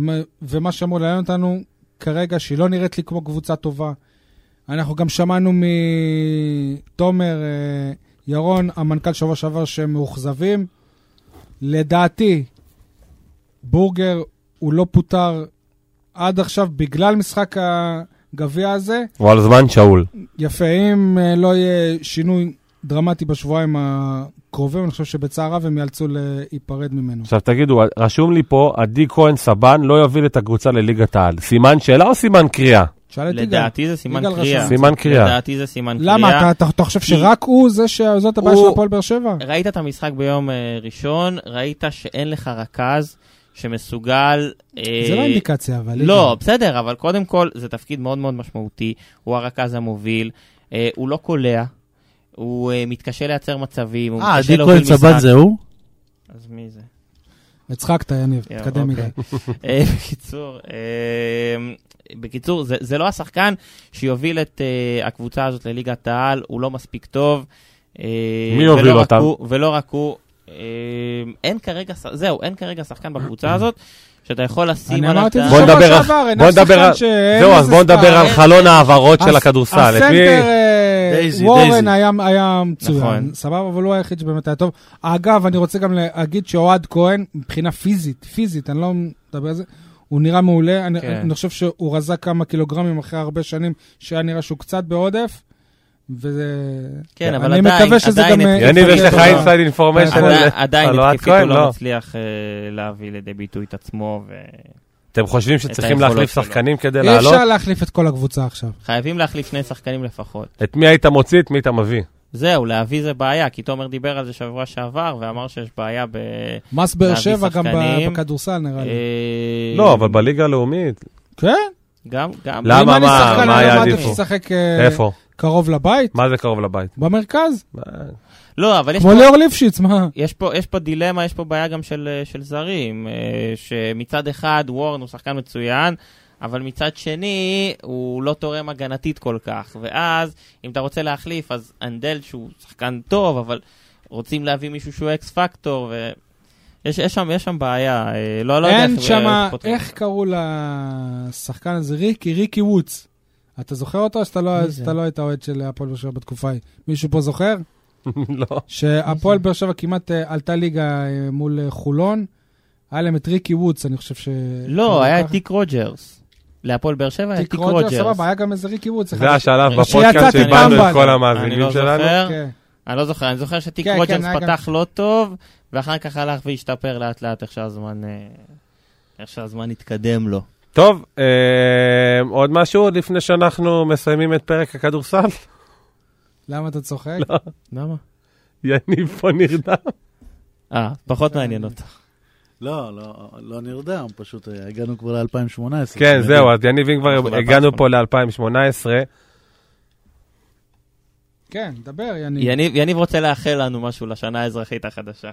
מ- ומה שאמור לעניין אותנו כרגע, שהיא לא נראית לי כמו קבוצה טובה. אנחנו גם שמענו מתומר אה, ירון, המנכ"ל שבוע שעבר, שהם מאוכזבים. לדעתי, בורגר הוא לא פוטר עד עכשיו בגלל משחק הגביע הזה. הוא על זמן שאול. יפה, אם אה, לא יהיה שינוי דרמטי בשבועיים הקרובים, אני חושב שבצער רב הם ייאלצו להיפרד ממנו. עכשיו תגידו, רשום לי פה, עדי כהן סבן לא יוביל את הקבוצה לליגת העל. סימן שאלה או סימן קריאה? תשאל את יגאל. לדעתי זה סימן אה, יגאל קריאה. רשם. סימן קריאה. לדעתי זה סימן קריאה. למה? אתה- אתה- אתה חושב שרק הוא זה שזאת הבעיה הוא- של הפועל באר שבע? ראית את המשחק ביום אה, ראשון, ראית שאין לך רכז שמסוגל... אה, זה לא אינדיקציה, אבל... לא, בסדר, אבל קודם כל, זה תפקיד מאוד מאוד משמעותי, הוא הרכז המוביל, אה, הוא לא קולע, הוא אה, מתקשה לייצר מצבים, הוא אה, מתקשה עדי להוביל כהן משחק. סבן זה הוא? אז מי זה? יגאל. הצחקת, יניב, יאו, תתקדם אוקיי. מדי. אה, בקיצור, אה, בקיצור, זה, זה לא השחקן שיוביל את אה, הקבוצה הזאת לליגת העל, הוא לא מספיק טוב. אה, מי ולא יוביל רק אותם? הוא- ולא רק הוא, אה, אין כרגע, ש- זהו, אין כרגע שחקן בקבוצה הזאת שאתה יכול לשים אני עליו אמרתי את ה- זה בוא שבוע נדבר- שעבר, אין בוא אף נדבר שחקן על- שאין זהו, אז איזה בואו נדבר סטאר. על חלון ההעברות של הס- הכדורסל. את מי- אה, הסנטר אה, דייזי, וורן דייזי. היה- היה מצוין, נכון. סבבה, אבל הוא לא היחיד שבאמת היה טוב. אגב, אני רוצה גם להגיד שאוהד כהן, מבחינה פיזית, פיזית, אני לא מדבר על זה, הוא נראה מעולה. אני- כן. אני חושב שהוא רזק כמה קילוגרמים אחרי הרבה שנים, שהיה נראה שהוא קצת בעודף. וזה... כן, אבל אני עדיין- מקווה שזה עדיין גם... אה, התקפי. יניב, יש לך תודה. אינסייד אינפורמיישן אבל- על עדיין- עדיין על אוהד התקפית הוא כהן? לא לא. מצליח אה, להביא לידי ביטוי את עצמו, וחייבים אתם חושבים שצריכים היכולות להחליף שלו. שחקנים כדי אי לעלות? אפשר להחליף את כל הקבוצה עכשיו. להחליף שני שחקנים לפחות. את מי היית מוציא, את מי אתה מביא? אה, זהו, להביא זה בעיה, כי תומר דיבר על זה שבוע שעבר, ואמר שיש בעיה ב... מס באר להביא שבע גם ב- שחקנים. בכדורסל נראה לי. אה, לא, אבל בליגה הלאומית. כן? גם, גם. למה, אם אני מה, שחקן, מה אני היה לא מעדיף עדיף? לשחק אה, איפה? קרוב לבית, מה זה קרוב לבית? אה, במרכז, לא, אבל יש כמו פה, ליאור ליפשיץ, מה? יש, פה, יש פה דילמה, יש פה בעיה גם של, אה, של זרים, אה, שמצד אחד וורן הוא שחקן מצוין, אבל מצד שני הוא לא תורם הגנתית כל כך, ואז אם אתה רוצה להחליף, אז אנדל שהוא שחקן טוב, אבל רוצים להביא מישהו שהוא אקס פקטור, ו... יש, יש, שם, יש שם בעיה, אה, לא, לא יודע אין איך- שם, פותרים. איך קראו לשחקן הזה? ריקי, ריקי וודס. אתה זוכר אותו או שאתה לא, מי אז זה? אתה לא היית אוהד של הפועל באר שבע בתקופה ההיא? מישהו פה זוכר? לא. שהפועל באר שבע כמעט אה, עלתה ליגה אה, מול אה, חולון. היה להם את ריקי וודס, אני חושב ש... לא, היה את ככה. טיק רוג'רס. להפועל באר שבע היה טיק רוג'ר, סבבה, היה גם איזה ריקי וודס. אחד זה השלב אני- בפודקאסט אה, שיצאתי שאיבדנו טמבל. את כל אני המאזינים לא שלנו. זוכר, כן. אני לא זוכר, אני זוכר שטיק כן, כן, רוג'רס היה גם- פתח לא טוב, ואחר כך הלך והשתפר לאט לאט איך שהזמן אה, איך שהזמן התקדם לו. טוב, אה, עוד משהו עוד לפני שאנחנו מסיימים את פרק הכדורסל? למה אתה צוחק? לא. למה? יניב פה נרדם. אה, פחות מעניין אותך. לא, לא, לא נרדם, פשוט אה, הגענו כבר ל-2018. כן, זהו, אז יניב, אם אנחנו לא כבר ב- הגענו פה ל-2018, כן, דבר, יניב. יניב יניב רוצה לאחל לנו משהו לשנה האזרחית החדשה.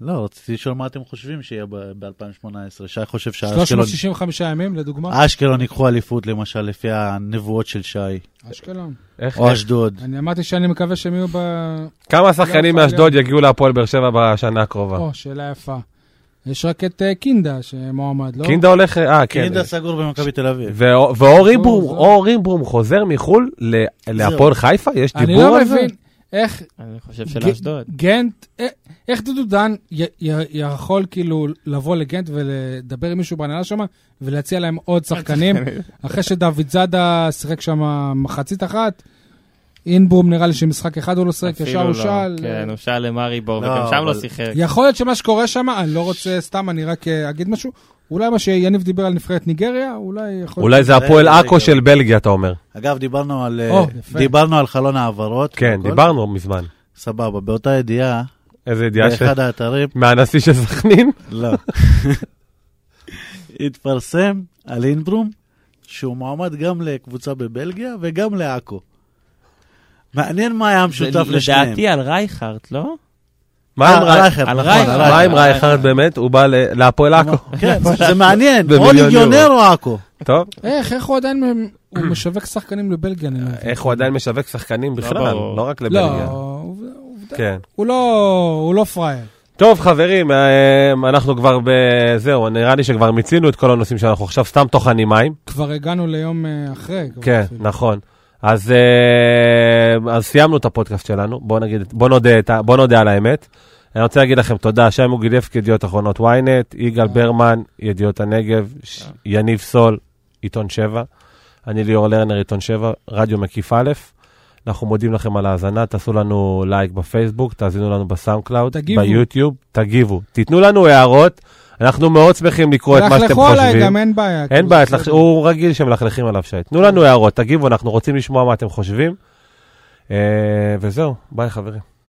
לא, רציתי לשאול מה אתם חושבים שיהיה ב-2018. שי חושב שאשקלון 365 ימים, אה? לדוגמה. אשקלון ייקחו אליפות, למשל, לפי הנבואות של שי, אשקלון. איך- או אשדוד. אני אמרתי שאני מקווה שהם יהיו ב... כמה שחקנים לא יכול מאשדוד יגיעו להפועל באר שבע בשנה הקרובה? או, שאלה יפה. יש רק את אה, קינדה שמועמד, לא? קינדה הולך, אה, כן. קינדה סגור במכבי תל אביב. ואו- ואור איברום, זהו. אור איברום חוזר מחו"ל ל- להפועל חיפה? יש אני דיבור לא על זה? מבין איך אני חושב שלאשדוד. גנט, אה, איך דודו דן י- י- יכול כאילו לבוא לגנט ולדבר עם מישהו בהנהלה שם ולהציע להם עוד שחקנים, אחרי שדוד זאדה שיחק שם מחצית אחת, אינברום נראה לי שמשחק אחד הוא לא שיחק, ישר אפילו הוא לא. שאל. אה, כן, הוא שאל למרי בור, לא, וגם שם לא אבל- שיחק. יכול להיות שמה שקורה שם, אני לא רוצה, סתם, אני רק אה, אגיד משהו, אולי מה שיניב דיבר על נבחרת ניגריה, אולי יכול אולי זה זה- הפועל זה עכו גם. כן, של בלגיה, אתה אומר. אגב, דיברנו על אה, או, יפה. דיברנו על חלון העברות. כן, והכל. דיברנו מזמן. סבבה, באותה ידיעה, איזה ידיעה ש... באחד האתרים, מהנשיא של סכנין? לא. התפרסם על אינברום שהוא מועמד גם לקבוצה בבלגיה וגם לעכו. מעניין מה היה המשותף זה לשניהם. לדעתי על רייכרט, לא? מה עם על רייכרד? רייכרד, על נכון, רייכרד. על מה עם רייכרד. רייכרד באמת? הוא בא ל- להפועל עכו. כן, זה מעניין, או במיליון ליגיונר או עכו. טוב, איך, איך הוא עדיין מ- הוא משווק שחקנים לבלגיה? אני לא מבין. איך הוא עדיין משווק שחקנים בכלל, ברור. לא רק לא, לבלגיה. עובדה- עובדה. כן. הוא לא, הוא לא פראייר. טוב, חברים, אה, אנחנו כבר ב... זהו, נראה לי שכבר מיצינו את כל הנושאים שאנחנו עכשיו סתם טוחנים מים. כבר הגענו ליום אה, אחרי. כבר כן, אפילו. נכון. אז, אה, אז סיימנו את הפודקאסט שלנו, בואו נגיד, בואו נודה, את ה- בואו נודה על האמת. אני רוצה להגיד לכם תודה, שי מוגילבסקי, ידיעות אחרונות ynet, יגאל אה. ברמן, ידיעות הנגב, ש- יניב סול, עיתון 7, אני ליאור לרנר, עיתון 7, רדיו מקיף א', אנחנו מודים לכם על ההאזנה, תעשו לנו לייק בפייסבוק, תאזינו לנו בסאונד קלאוד, תגיבו. ביוטיוב, תגיבו, תיתנו לנו הערות, אנחנו מאוד שמחים לקרוא את מה שאתם תלכלכו עליי, חושבים. גם אין בעיה. אין כאילו, בעיה, בסדר. תלח- הוא רגיל שמלכלכים עליו שי. תנו לנו הערות, תגיבו, אנחנו רוצים לשמוע מה אתם חושבים. אה, וזהו, ביי חברים.